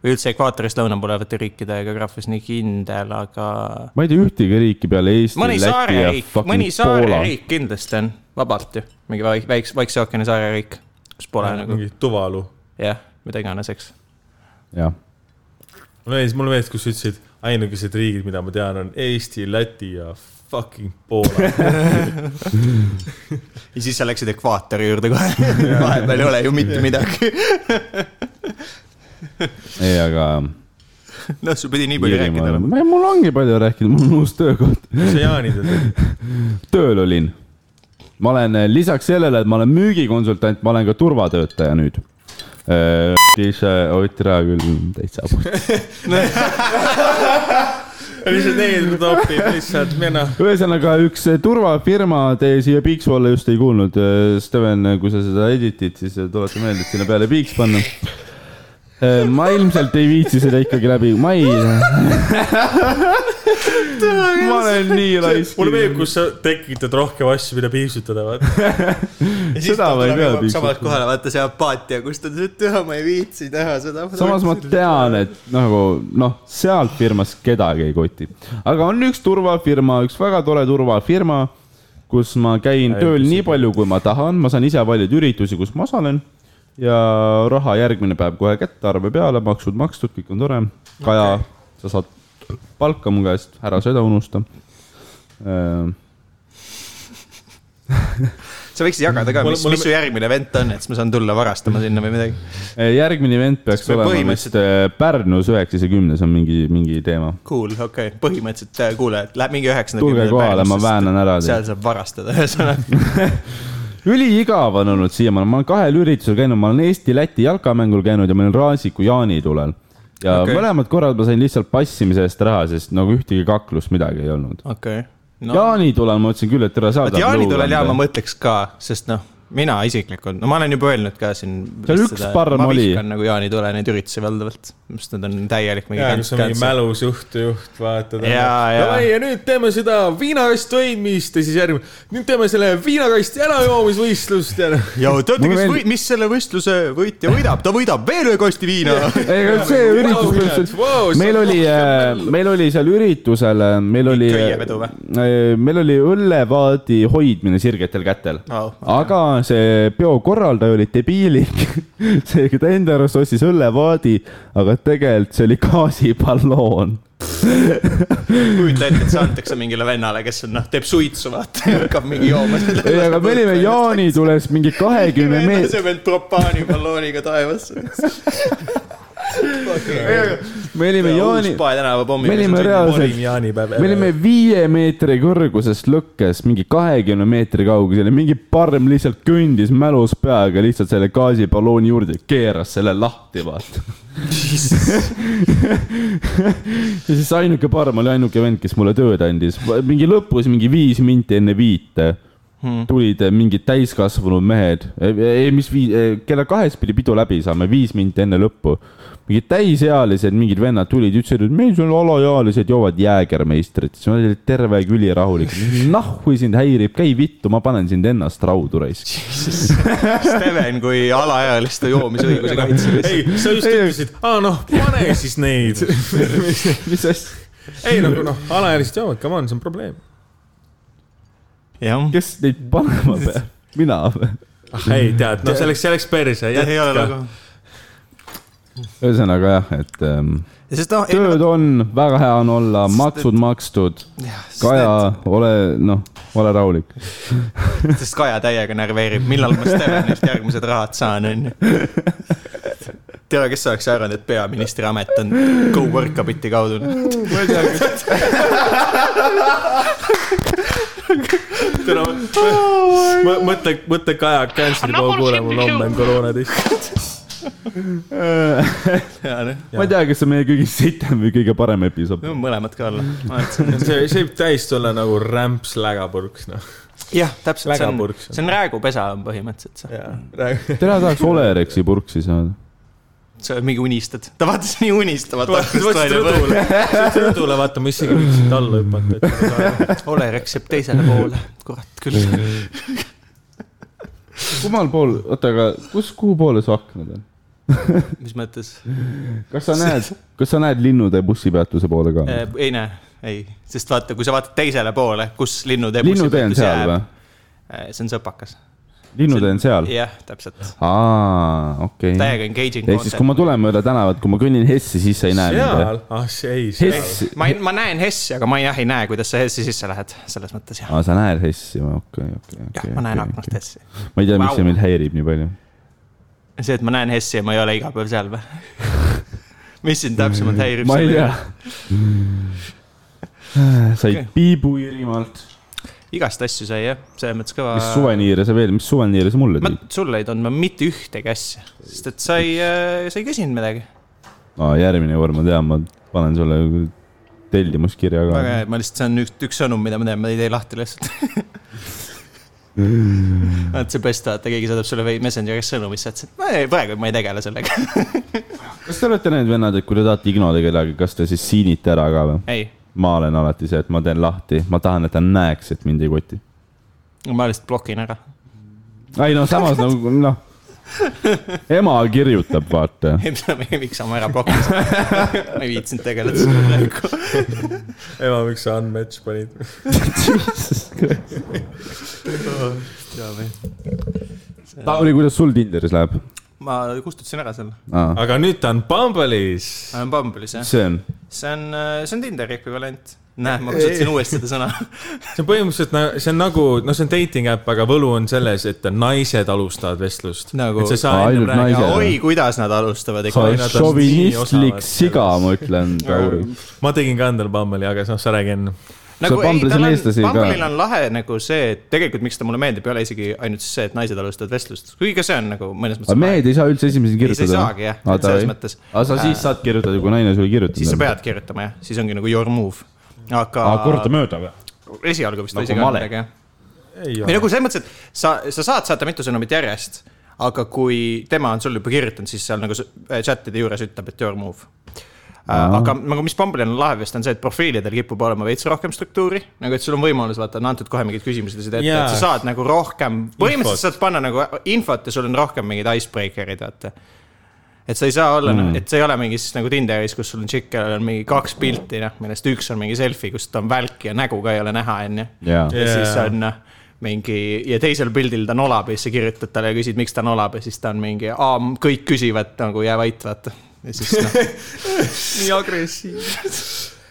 või üldse ekvaatorist lõuna poole olevate riikide geograafias nii kindel , aga . ma ei tea ühtegi riiki peale Eesti , mõni Läti ja saareriik , mõni fucking Poola . saareriik oola. kindlasti on , vabalt ju , mingi väik- väikse , Vaikse ookeani saareriik , kus pole nagu mingi Tuvalu . jah , mida iganes , eks . jah , mul meeldis , mulle meeldis , kus sa ütlesid , ainukesed riigid , mida ma tean , on Eesti , Läti ja fucking Poola . ja siis sa läksid ekvaatori juurde kohe . vahepeal ei ole ju mitte midagi . ei , aga noh , sul pidi nii palju rääkida Iirimaal , olema . mul ongi palju rääkida , mul on uus töökoht . mis sa jaanid oled ? tööl olin . ma olen eh, lisaks sellele , et ma olen müügikonsultant , ma olen ka turvatöötaja nüüd . siis , oi tere küll , täitsa puht . mis sa teed , topid lihtsalt , mina . ühesõnaga , üks eh, turvafirma , te siia piiksu alla just ei kuulnud . Steven , kui sa seda editid , siis eh, tuleta meelde , et sinna peale piiks panna . Äh, ma ilmselt ei viitsi seda ikkagi läbi , ma ei . ma olen nii laisk . mulle meeldib , kus sa tekitad rohkem asju , mida piipsutada , vaata . Seda ma ei pea piisavalt. samalt kohale , vaata see apaatia , kus ta ütles , et jah , ma ei viitsi teha seda . samas ma tean , et nagu noh , sealt firmas kedagi ei koti , aga on üks turvafirma , üks väga tore turvafirma , kus ma käin tööl nii palju , kui ma tahan , ma saan ise valida üritusi , kus ma osalen ja raha järgmine päev kohe kätte , arve peale , maksud makstud , kõik on tore . Kaja okay. , sa saad palka mu käest , ära seda unusta . Äh, sa võiksid jagada ka , Mulle- mis , mulle- mis su järgmine event on , et siis ma saan tulla varastama sinna või midagi . järgmine event peaks Kas me olema vist põhimõtteliselt- äh, Pärnus üheksas ja kümnes on mingi , mingi teema . Cool , okei okay. , põhimõtteliselt äh, kuulajad , läheb mingi üheksanda . tulge kohale , ma . väänan ära teid . seal saab varastada , ühesõnaga . üliigav on olnud siiamaani , ma olen kahel üritusel käinud , ma olen Eesti-Läti jalkamängul käinud ja ma olin Raasiku jaanitulel . ja Okei. okay. mõlemad korrad ma sain lihtsalt passimise eest raha , sest nagu ühtegi kaklust midagi ei olnud no. . okei . jaanitulel ma mõtlesin küll , et ära saada . jaanitulel ja ma mõtleks ka , sest noh , mina isiklikult , no ma olen juba öelnud ka siin . Seal üks parm oli. ma vihkan nagu jaanitule neid üritusi valdavalt , sest nad on täielik mingi jaa , kus on mingi kants-kants . mälus juhtujuht , vaata . Jaa, jaa. ja nüüd teeme seda viinakast võimist ja siis järgmine , nüüd teeme selle viinakasti ärajoomisvõistlust ja noh . ja teate , Mulle kes meeldib- või, , mis selle võistluse võitja võidab , ta võidab veel ühe kosti viina . ei , aga see üritus Vau, põhimõtteliselt vau, see meil on oli , meil oli seal üritusel , meil oli äh, köievedu , meil oli õllevaadi hoidmine sirgetel kätel Au. aga see peokorraldaja oli debiilik , seega ta enda arust ostis õllevaadi , aga tegelikult see oli gaasiballoon . kujuta ette , et see antakse mingile vennale , kes on noh , teeb suitsu , vaata , ja hakkab mingi jooma . ei , aga me olime jaanitules mingi kahekümne vend meetri , asemel propaaniballooniga taevasse . me olime jaani , Uus-Pae tänava pommi . me olime reaalselt parim jaanipäev ever. me olime viie meetri kõrguses lõkkes , mingi kahekümne meetri kaugusel ja mingi parm lihtsalt kõndis mälus peaga lihtsalt selle gaasiballooni juurde , keeras selle lahti , vaata . ja siis ainuke parm oli ainuke vend , kes mulle tööd andis , mingi lõpus mingi viis minti enne viite tulid mingid täiskasvanud mehed , ei mis viis , kella kahest pidi pidu läbi saama , viis minti enne lõppu . mingid täisealised mingid vennad tulid , ütlesid , et meil siin alaealised joovad jäägermeistrit , siis ma olin terve küli rahulik , nahhu sind häirib , käi vittu , ma panen sind ennast raudu raisk . Steven kui alaealiste joomisõiguse kaitsja . ei , sa just ütlesid , aa noh , pane siis neid . mis asja , ei nagu noh , alaealised joovad , come on , see on probleem . jah . kes neid panema peab , mina või ? ah ei tead , noh , see läks , see läks perse , ei ole jätka nagu .. ühesõnaga jah , et ähm, sest noh , tööd on , väga hea on olla , maksud makstud , Kaja , ole noh , ole rahulik . sest Kaja täiega närveerib , millal ma Stevenilt järgmised rahad saan , onju . tea , kes oleks arvanud , et peaministri amet on Go Workabiti kaudu . täna ma mõtle , mõtle Kaja Cancer'i pool kuule , mul homme on koroonatest . ma ei tea , kas see on meie kõige sitem või kõige parem episood . noh, mõlemad ka olla . see , see võib täiesti olla nagu rämps lägapurks , noh . jah , täpselt , see on , Lägapurks. see on räägupesa on põhimõtteliselt see . täna tahaks Olerexi purksi saada . sa mingi unistad , ta vaatas nii unistavat aknast . rõdule , rõdule vaata , ma isegi võiksin alla hüpata . Olerex jääb teisele poole , kurat küll . kummal pool , oota , aga kus , kuhu poole su aknad on ? mis mõttes ? kas sa näed , kas sa näed linnude bussipeatuse poole ka ? Äh, ei näe , ei , sest vaata , kui sa vaatad teisele poole , kus linnutee . linnutee on seal või ?? äh, see on sõpakas . linnutee on seal ? jah , täpselt . aa , okei . täiega engaging . ehk siis , kui ma tulen mööda tänavat , kui ma kõnnin Hessi , siis sa ei näe mind seal , ah see ei , või ? seal . Hess , ma ei , ma näen Hessi , aga ma jah ei näe , kuidas sa Hessi sisse lähed , selles mõttes jah . aa , sa näed Hessi või ? okei , okei , jah okei ,. ma näen okei. aknast Hessi . ma ei tea , miks Vau. see mind häirib nii palju . see , et ma näen Hessi ja ma ei ole iga päev seal või ? mis sind täpsemalt häirib ? ma ei tea . said piibu Iirimaalt . igast asju sai jah , selles mõttes kõva . mis ? suveniire sa veel , mis suveniire sa mulle Äh. ma tõid ? sulle ei tundnud ma mitte ühtegi asja , sest et sa ei , sa ei küsinud midagi . aa , järgmine kord ma tean , ma panen sulle tellimuskirja väga ka . hea , ma lihtsalt , see on üks , üks sõnum , mida ma teen , ma ei tee lahti lihtsalt . vaat see best , vaata keegi saadab sulle või- Messengeris sõnumi , siis sa ütlesid , ma ei , praegu ma ei tegele sellega . kas te olete need vennad , et kui te tahate ignoda kedagi , kas te siis siinite ära ka või ? ei , ma olen alati see , et ma teen lahti , ma tahan , et ta näeks , et mind ei koti . ma lihtsalt blokin ära . ei no samas nagu noh , ema kirjutab , vaata . ei , miks sa oma ära blokkisid ? ma ei viitsinud tegeleda sellega praegu . ema , miks sa unmatch panid ? Tauri , kuidas sul Tinderis läheb ? ma kustutasin ära selle . aga nüüd ta on Bumble'is . ma olen Bumble'is jah . see on , see on , see on Tinderi ekvivalent . näe , ma kasutasin uuesti seda sõna . see on põhimõtteliselt , see on nagu , noh , see on dating äpp , aga võlu on selles , et naised alustavad vestlust Nagu- et sa ei saa ennem Ainult rääkida naised. ja oi , kuidas nad alustavad sa ikka Oi, oled nad on nii šovinistlik osavad siga , ma ütlen , Tauri . ma tegin ka endale Bumble'i , aga noh , sa räägi enne . nagu See ei , Bumble'is tal on on , eestlasi ka. Bumble'il on lahe nagu see , et tegelikult miks ta mulle meeldib , ei ole isegi ainult see , et naised alustavad vestlust , kuigi ka see on nagu mõnes mõttes aga . mehed ei saa üldse ei , sa esimesena ei kirjutada . saagi jah , selles mõttes . aga sa siis saad kirjutada , kui naine sulle kirjutab . siis sa pead äh, kirjutama jah , siis ongi nagu your move , aga aa , korda mööda või ? esialgu vist nagu Nagu isegi on male. midagi jah . või nagu selles mõttes , et sa , sa saad saata mitu sõnumit järjest , aga kui tema on sulle juba kirjutanud , siis seal nagu s- äh, chat'ide juures ütleb , et your move . aga nagu , mis Bumble'il on lahe vist on see , et profiilidel kipub olema veits rohkem struktuuri , nagu et sul on võimalus , vaata , on antud kohe mingid küsimused ja seda ette Jaa. yeah. , et sa saad nagu rohkem , põhimõtteliselt saad panna nagu infot ja sul on rohkem mingeid icebreaker'id , vaata et sa ei saa olla mm. , et see ei ole mingis nagu Tinderis , kus sul on tšikk , kellel on mingi kaks pilti , noh , millest üks on mingi selfie , kus ta on välk ja nägu ka ei ole näha , onju . jaa . ja Jaa. siis on äh, mingi ja teisel pildil ta nolab ja siis sa kirjutad talle ja küsid , miks ta nolab ja siis ta on mingi , aa , kõik küsivad nagu jää vait , vaata . ja siis noh , nii agressiivne .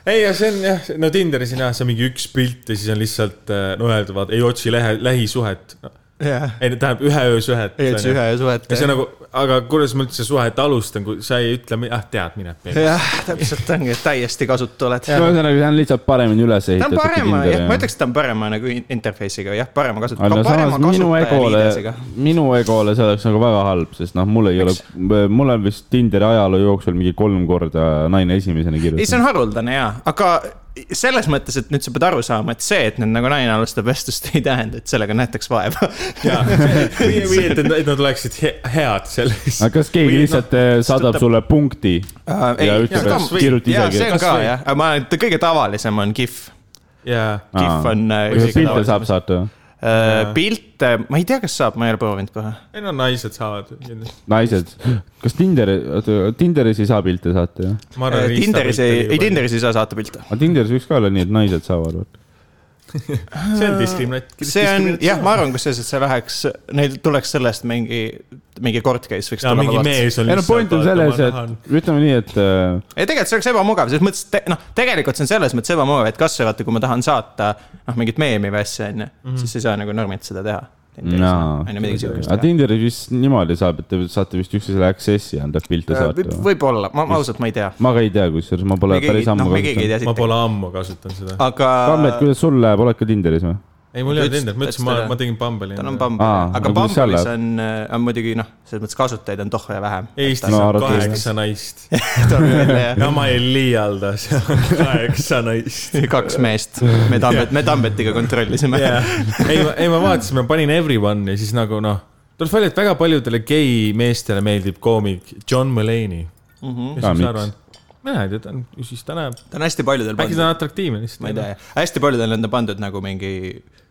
ei , ja see on jah , no Tinderis on jah , see on mingi üks pilt ja siis on lihtsalt , no öelda , vaata , ei otsi lähe , lähisuhet . jah , ei , tähendab ühe öö suhet . üldse ühe suhet . ja see on nagu , aga kuidas ma üldse suhet alustan , kui sa ei ütle , ah , tead , mine . jah , nagu- täpselt ongi , et täiesti kasutu oled . ta ühesõnaga , see on lihtsalt paremini üles on ehitatud . parema , jah , ma ütleks , et ta on parema nagu in- interface'iga , jah , parema aga samas minu egole kasutaja . minu egole see oleks nagu väga halb , sest noh , mul ei ole , mul on vist Tinderi ajaloo jooksul mingi kolm korda naine esimesena ei , see kirjutanud . on haruldane jaa , aga selles mõttes , et nüüd sa pead aru saama , et see , et nüüd nagu naine alustab vestlust , ei tähenda , et sellega näitaks vaeva . või või et , et nad oleksid he head selles . aga kas keegi lihtsalt noh, eh, saadab sulle punkti ja ütleb , et kirjuta see isegi ? Äh, on Kas ka või- jah , aga ma , kõige tavalisem on GIF . jaa . GIF on . äh, kas pilte saab ? saata ? pilte , ma ei tea , kas saab , ma ei ole proovinud kohe . ei no naised saavad kindlasti . naised , kas Tinderi , Tinderis ei saa pilte saata jah ? ma arvan , et . Äh, Tinderis ei , ei . Tinderis ei saa saata pilte . aga Tinderis võiks ka olla nii , et naised saavad , vaata . see on diskrimineerimine . see on jah , ma arvan , kusjuures , et see läheks , neil tuleks sellest mingi , mingi court case võiks ja tulla . mingi mees on ei no point on selles , et ütleme nii , et eh, ei , tegelikult see oleks ebamugav , selles mõttes , et te- noh , tegelikult see on selles mõttes ebamugav , et kasvõi vaata , kui ma tahan saata noh , mingit meemi või asja , onju , Mhm. siis ei saa nagu normilt seda teha . jaa , onju , midagi siukest aga . Tinderis vist niimoodi saab , et te saate vist üksteisele access'i anda , pilte Äh, saata . võib-olla , ma ma ausalt , ma ei tea . ma ka ei tea , kusjuures ma Äh, me pole keegi päris , ammu noh , me keegi ei kasutanud . tea ma siit , pole ammu kasutanud seda . aga . Tammet , kuidas sul läheb , oled ka Tinderis või ? ei , mul ei olnud Ah, ütles- endal , ma ütles ütlesin , ma talle- , ma tegin Bumble'i . tal on Aa, Bumble , aga aga kuidas seal Bumble'is läheb? on , on muidugi noh , selles mõttes kasutajaid on tohve vähem . Eestis No on arvatavasti. kaheksa naist Eestis ja ma ei liialda , seal on kaheksa naist . kaks meest , me Tambet , me Tambetiga kontrollisime Yeah. ei , ei ma vaatasin , ma panin everyone ja siis nagu noh , tuleb välja , et väga paljudele gei meestele meeldib koomik John Mulaney mm . Mhm. -hmm. Aa, mis Ah, miks? ma arvan , mina ei tea , ta on , siis ta näeb , ta on hästi paljudel äkki pandud ta on atraktiivne lihtsalt . ma ei tea , hästi paljudel on ta pandud nagu mingi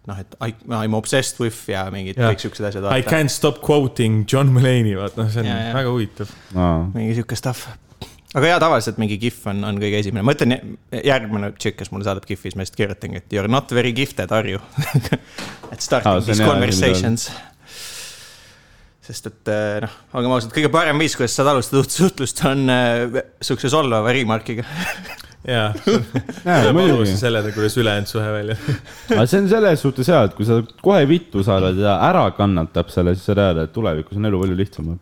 noh , et I, I m obsessed with ja mingid kõik siuksed asjad . I can't stop quoting John Mulaney , vaat noh , see on Jaa, ja, jaa. väga huvitav . mingi sihuke stuff . aga jaa , tavaliselt mingi kihv on , on kõige esimene , ma ütlen , järgmine tšikk , kes mulle saadab kihvi , siis ma lihtsalt kirjutangi , et you are not very gifted , are you ? et starting Aa, ah, see on these hea conversations . sest et eh, noh , olgem ausad , kõige parem viis , kuidas saad alustada uut suhtlust , on eh, sihukese solvava remark'iga . jaa , jaa , ma muidugi alustasin . sellega , kuidas ülejäänud suhe välja . aga see on selles suhtes hea , et kui sa kohe vittu saadad ja ära kannatab selle , siis sa tead , et tulevikus on elu palju lihtsam .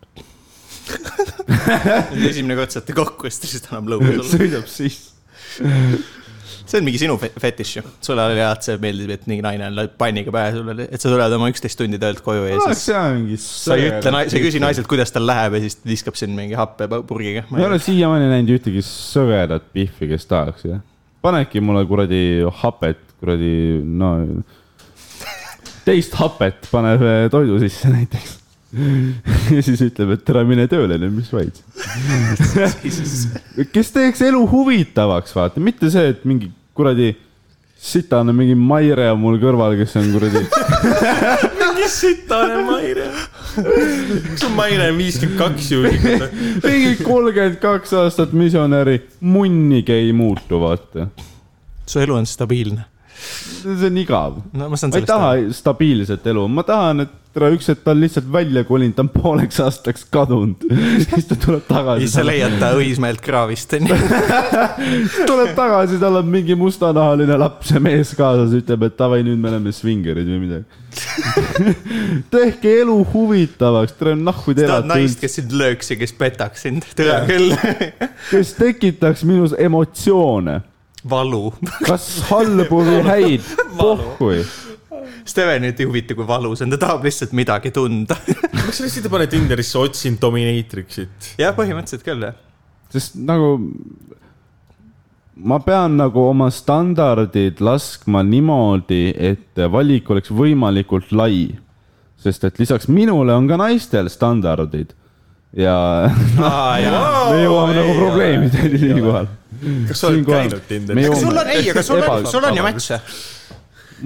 esimene kord saate kokku ja siis ta lihtsalt annab lõuga sulle . sõidab sisse . see on mingi sinu fe- fetiš ju , sulle oli hea , et see meeldib , et mingi naine on panniga pähe sulle , et sa tuled oma üksteist tundi töölt koju ja siis see on mingi . sa ei ütle , sa ei küsi . naiselt , kuidas tal läheb ja siis ta viskab sind mingi happepurgiga . ma ei ole siiamaani näinud ühtegi sõgedat pihvi , kes tahaks , jah . panedki mulle kuradi hapet , kuradi , no teist hapet paneb eh, toidu sisse näiteks . ja siis ütleb , et ära mine tööle nüüd , mis vaid . kes teeks elu huvitavaks , vaata , mitte see , et mingi kuradi sitane mingi Maire on mul kõrval , kes on kuradi mingi sitane Maire . kas on Maire viiskümmend kaks ju ? mingi kolmkümmend kaks aastat misjonäri , munnigi ei muutu , vaata . su elu on stabiilne . see on igav . no ma saan ma ei sellest taha stabiilset elu , ma tahan , et tere , üks hetk ta on lihtsalt välja kolinud , ta on pooleks aastaks kadunud . siis ta tuleb ja tagasi . sa leiad ta Õismäelt kraavist , onju . tuleb tagasi , tal on mingi mustanahaline laps ja mees kaasas , ütleb , et davai , nüüd me oleme svingerid või midagi . tehke elu huvitavaks , tere nahku te tahad elate naist , üldse , kes sind lööks ja kes petaks sind , tõe küll . kes tekitaks minus emotsioone , valu . kas halbu või häid , pohhui . Stevenit ei huvita , kui valus on , ta tahab lihtsalt midagi tunda . miks sa lihtsalt ei pane Tinderisse , otsin Dominatrixit ? jah , põhimõtteliselt küll , jah . sest nagu ma pean nagu oma standardid laskma niimoodi , et valik oleks võimalikult lai . sest et lisaks minule on ka naistel standardid ja me jõuame nagu probleemideni siinkohal . kas sa oled käinud Tinderis ? kas sul on , ei , aga sul on , sul on ju . matš'e .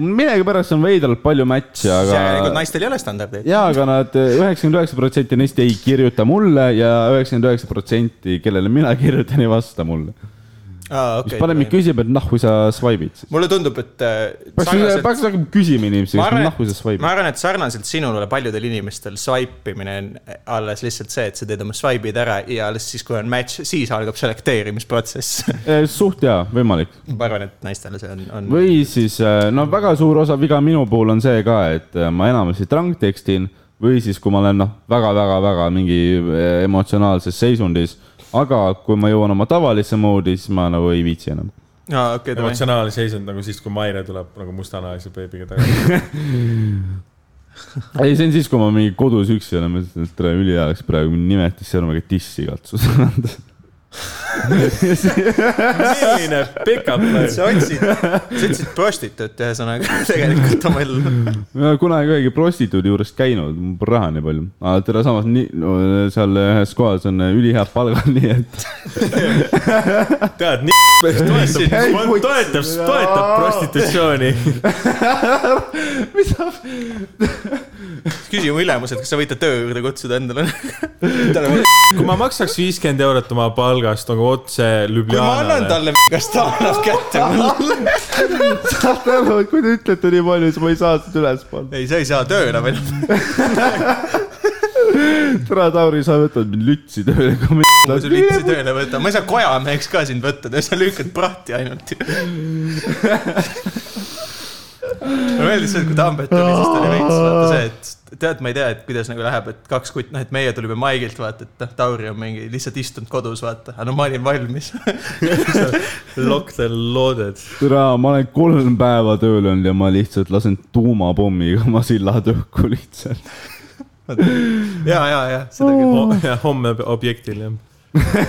millegipärast on veidralt palju matš'e , järelikult aga naistel ei ole standardeid . ja , aga nad üheksakümmend üheksa protsenti neist ei kirjuta mulle ja üheksakümmend üheksa protsenti , kellele mina kirjutan , ei vasta mulle . aa , siis parem okei . küsib , et nahku sa swipe'id siis . mulle tundub , et äh, peaks , sarnaselt- peaks hakkama küsima inimesi , ma kas arvan , nahku sa et , ma swipe'id . arvan , et sarnaselt sinule paljudel inimestel swipe imine on alles lihtsalt see , et sa teed oma swipe'id ära ja alles siis , kui on match , siis algab selekteerimisprotsess . Äh, suht jaa , võimalik . ma arvan , et naistele see on , on . või siis , no väga suur osa viga minu puhul on see ka , et eh, ma enamasti trangtekstin või siis , kui ma olen noh , väga-väga-väga mingi eh, emotsionaalses seisundis , aga kui ma jõuan oma tavalisse moodi , siis ma nagu ei viitsi enam . aa , okei , davai . emotsionaalne seisund nagu siis , kui Maire tuleb nagu mustanahalise beebiga tagasi . ei , see on siis , kui ma mingi kodus üksi olen , ma ütlen , et tere , ülihea oleks praegu , nimetas sõrmega tissi katsus anda . milline pikalt läks . sa otsid , sa otsid prostituut ühesõnaga tegelikult oma ellu . ma ei ole kunagi ühegi prostituudi juures käinud , mul pole raha nii palju , aga tere samas nii no, , seal ühes kohas on ülihead palgad , nii et . tead , nii toetab , toetab , toetab prostitutsiooni . küsi oma ülemuselt , kas sa võid ta töö juurde kutsuda endale . kui ma maksaks viiskümmend eurot oma palgast nagu kui otse ma annan Ljubljanale . talle , kas ta annab kätte mulle ? saad aru , et kui te ütlete nii palju , siis ma ei saa seda üles panna . ei , sa ei saa tööle või noh , tere , Tauri , sa võtad mind lütsi tööle , kui ma . kui sa lütsi tööle võtad , ma ei saa kojameheks ka sind võtta , sa lükkad prahti ainult . mulle meeldis see , et kui Tambet tuli , siis ta oli veits vaata see , et tead , ma ei tea , et kuidas nagu läheb , et kaks kutt , noh , et meie tulime Maigilt vaata , et noh , Tauri on mingi lihtsalt istunud kodus vaata , aga no ma olin valmis . Lock the loaded . tere , ma olen kolm päeva tööl olnud ja ma lihtsalt lasen tuumapommiga oma silla tõuku lihtsalt . ja , ja , ja , seda Oh. küll . homme objektil jah .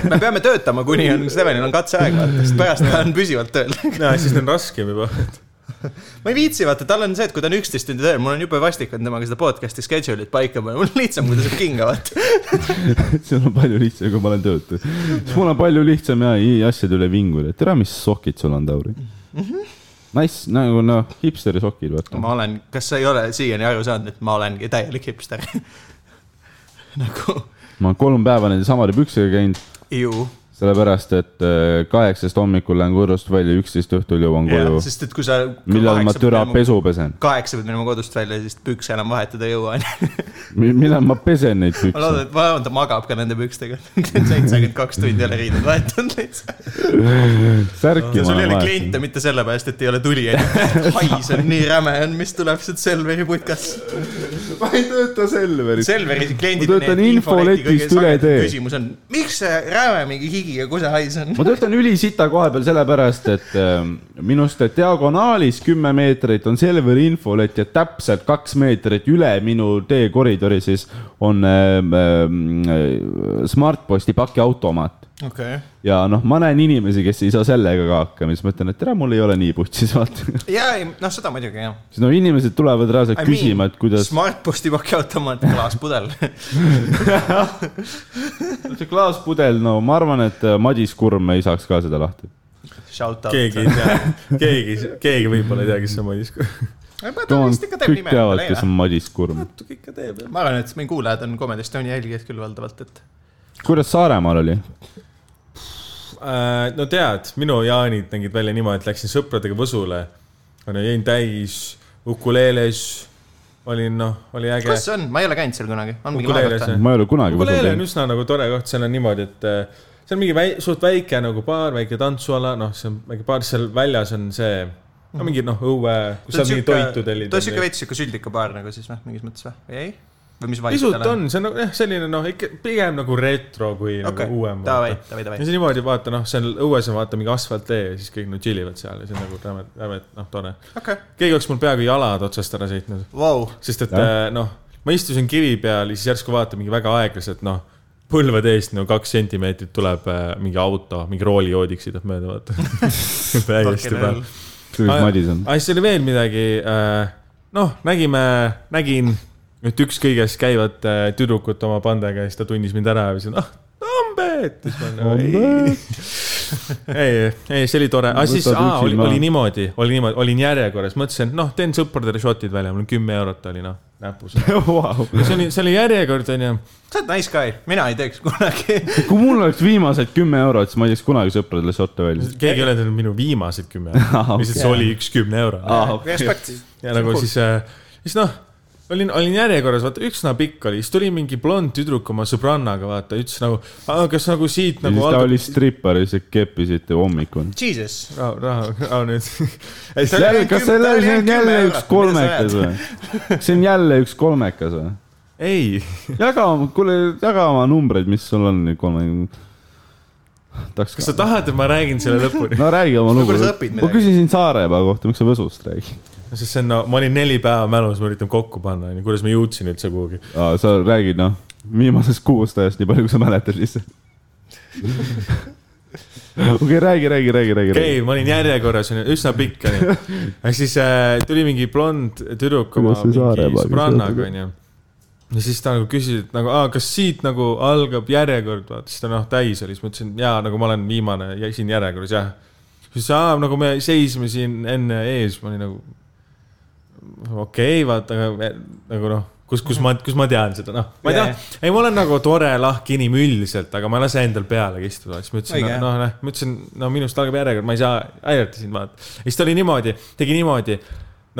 me peame töötama , kuni on , Stevenil on katseaeg vaata , sest pärast ta on püsivalt tööl . ja siis on raskem juba . ma ei viitsi , vaata , tal on see , et kui ta on üksteist tundi tööl , mul on jube vastik on temaga seda podcast'i schedule'it paika panna , mul on lihtsam , kui ta saab kinga , vaata . see on palju lihtsam , kui ma olen töötu . siis mul on palju lihtsam ja ei asjade üle vinguda . tere , mis sokid sul on , Tauri ? Mhm. Nice , nagu noh , hipsteri sokid , vaata . ma olen , kas sa ei ole siiani aru saanud , et ma olengi täielik hipster ? nagu ma olen kolm päeva nende samade püksega käinud , ju . sellepärast et äh, kaheksast hommikul lähen kodust välja , üksteist õhtul jõuan koju . sest et kui sa . millal ma türa pesu pesen ? kaheksa pead minema kodust välja , siis pükse enam vahetada ei jõua . millal ma pesen neid ma loodan , pükse ? et ma loodan , et ta magab ka nende pükstega . seitsekümmend kaks tundi ei ole riided vahetanud lihtsalt . särki ma sul ei olen ole vaja . kliente mitte sellepärast , et ei ole tuli , hais on nii räme on , mis tuleb sealt Selveri putkast . ma ei tööta Selveris . Selveri kliendid . Ma töötan infoletist üle tee. küsimus on , miks see räme mingi higi ja kusehais on ? ma töötan ülisita koha peal sellepärast , et ähm, minust diagonaalis kümme meetrit on Selveri infolett ja täpselt kaks meetrit üle minu teekoridori siis on ähm, ähm, Smartposti pakiautomaat okei . ja noh , ma näen inimesi , kes ei saa sellega ka hakkama , siis mõtlen , et tere , mul ei ole nii putsis , vaata . ja , ei , noh , seda muidugi jah . siis no inimesed tulevad reaalselt küsima , et kuidas Smartposti pakiautomaat , klaaspudel . äh, see klaaspudel , no ma arvan , et Madis Kurm ei saaks ka seda lahti . Shout out . keegi ei tea , keegi , keegi võib-olla ei tea , kes see Madis Kurm . kõik teavad , kes on Madis Kurm . natuke ikka teeb jah . ma arvan , et meie kuulajad on Comedy Estonia jälgijad küll valdavalt , et kuidas Saaremaal oli ? Äh, no tead , minu jaanid nägid välja niimoodi , et läksin sõpradega Võsule . onju , jõin täis , ukuleeles , olin noh , oli äge kus see on , ma ei ole käinud seal kunagi , on mingi lahe Ukuleeles, koht või ? ma ei ole kunagi Ukulele on võtnud . üsna nagu tore koht , seal on niimoodi , et äh, see on mingi väi, suht väike nagu baar , väike tantsuala , noh , see on väike baar , seal väljas on see , no mingi noh , õue , kus saab mingi ta on toitu siuke tellida . veits siuke süldikupaar nagu siis või , mingis mõttes või , või ei ? või mis vibe pisut on , see on nagu jah , selline noh , ikka pigem nagu retro kui okay. okei nagu uuem ., davai , ja davai , davai . see niimoodi vaata noh , seal õues on vaata mingi asfalttee ja siis kõik no chill ivad seal ja see on nagu räme , räme , noh , tore . okei , keegi oleks mul peaaegu jalad otsast ära sõitnud , vau , sest et Jah. äh, noh , ma istusin kivi peal ja siis järsku vaatan mingi väga aeglaselt , noh , põlvede eest nagu kaks sentimeetrit tuleb äh, mingi auto , mingi roolijoodik sõidab mööda , vaata . täiesti Fucking hell. peal . kuidas Madis on ? aga siis oli veel midagi äh, , noh , nägime , nägin üht ükskõiges käivat äh, tüdrukut oma pandega ja siis ta tunnis mind ära ja siis ah , Tambet . ei , ei , see oli tore , aga siis Võtad aa, üksi oli , maha. oli niimoodi , oli niimoodi , olin järjekorras , mõtlesin , et noh , teen sõpradele shot'id välja , mul on kümme eurot oli noh , näpus . see oli , see oli järjekord onju , sa oled nice guy , mina ei teeks kunagi . kui mul oleks viimased kümme eurot , siis ma ei teeks kunagi sõpradele sotte välja . keegi ei öelnud et minu viimased kümme Ah, eurot , lihtsalt see oli üks kümne euro . Respekt . ja nagu siis , siis noh , olin , olin järjekorras , vaata üsna pikk oli , siis tuli mingi blond tüdruk oma sõbrannaga , vaata , ütles nagu , kas nagu siit ja nagu siis ta oli strippar ja siis keppisite hommikul . Jesus . rahu , rahu , rahu nüüd oli kas see kümme- ta oli oli ainult jälle kümme üks eurot, kolmekas mida või ? see on jälle üks kolmekas või ? ei , jaga , kuule , jaga oma numbreid , mis sul on kolme . tahaks kas sa ka . tahad , et ma räägin selle lõpuni ? no räägi oma lugu . Võib-olla sa õpid ma midagi. küsisin Saaremaa kohta , miks sa Võsust räägid ? sest see on , no ma olin neli päeva mälus , ma üritan kokku panna , onju , kuidas ma jõudsin üldse kuhugi . sa räägid , noh , viimasest kuust ajast , nii palju , kui sa mäletad lihtsalt . okei , räägi , räägi , räägi , räägi , okei okay, , ma olin järjekorras , onju , üsna pikk onju . ja siis äh, tuli mingi blond tüdruk oma Kuidas see mingi Saaremaaga sõbrannaga seotud on? onju . ja siis ta nagu küsis , et nagu , kas siit nagu algab järjekord , vaata , siis ta noh , täis oli , siis ma ütlesin , jaa , nagu ma olen viimane ja siin järjekorras , jah . siis aa , nagu me seisime siin enne ees , ma olin nagu okei okay, , vaata , aga nagu noh , kus , kus ma , kus ma tean seda , noh , ma ei Jaa, tea , ei , ma olen nagu tore lahke inimene üldiselt , aga ma ei lase endal pealegi istuda , siis ma ütlesin Õige. , noh , noh , ma ütlesin , no minust algab järjekord , ma ei saa aidata sind vaata . ja siis ta oli niimoodi , tegi niimoodi ,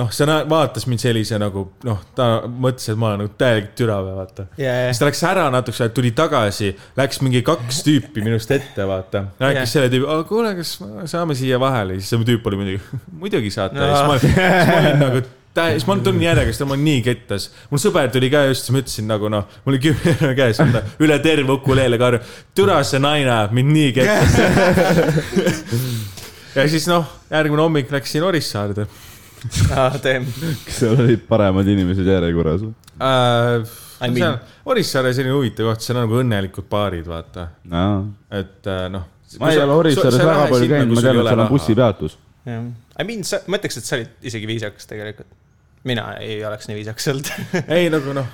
noh , see nä- vaatas mind sellise nagu noh , ta mõtles , et ma olen nagu täielik türapea , vaata Jajah. siis ta läks ära natukese , tuli tagasi , läks mingi kaks tüüpi minust ette , vaata . rääkis Jah. selle tüübi , kuule , kas me saame siia vahele , siis see tüüp oli muidugi , muidugi saate . siis ma Ahah. siis ma olin nagu , siis ma tulin järjega , siis ta mul nii kettas . mul sõber tuli ka just , siis ma ütlesin nagu noh , mul oli kümme euro käes , üle terve ukuleele karju . türa see naine ajab mind nii kettasse . ja siis noh , järgmine hommik läksin Orissaarde aa , teeme . kas seal olid paremad inimesed järjekorras või ? uh, . I mean- Orissaare selline huvitav koht , seal on nagu õnnelikud baarid , vaata et äh, noh . ma ei ole Orissaares väga palju käinud , ma tean , et seal on . bussipeatus . I mean , sa , ma ütleks , et sa olid isegi viisakas tegelikult . mina ei oleks nii viisakas olnud . ei nagu noh ,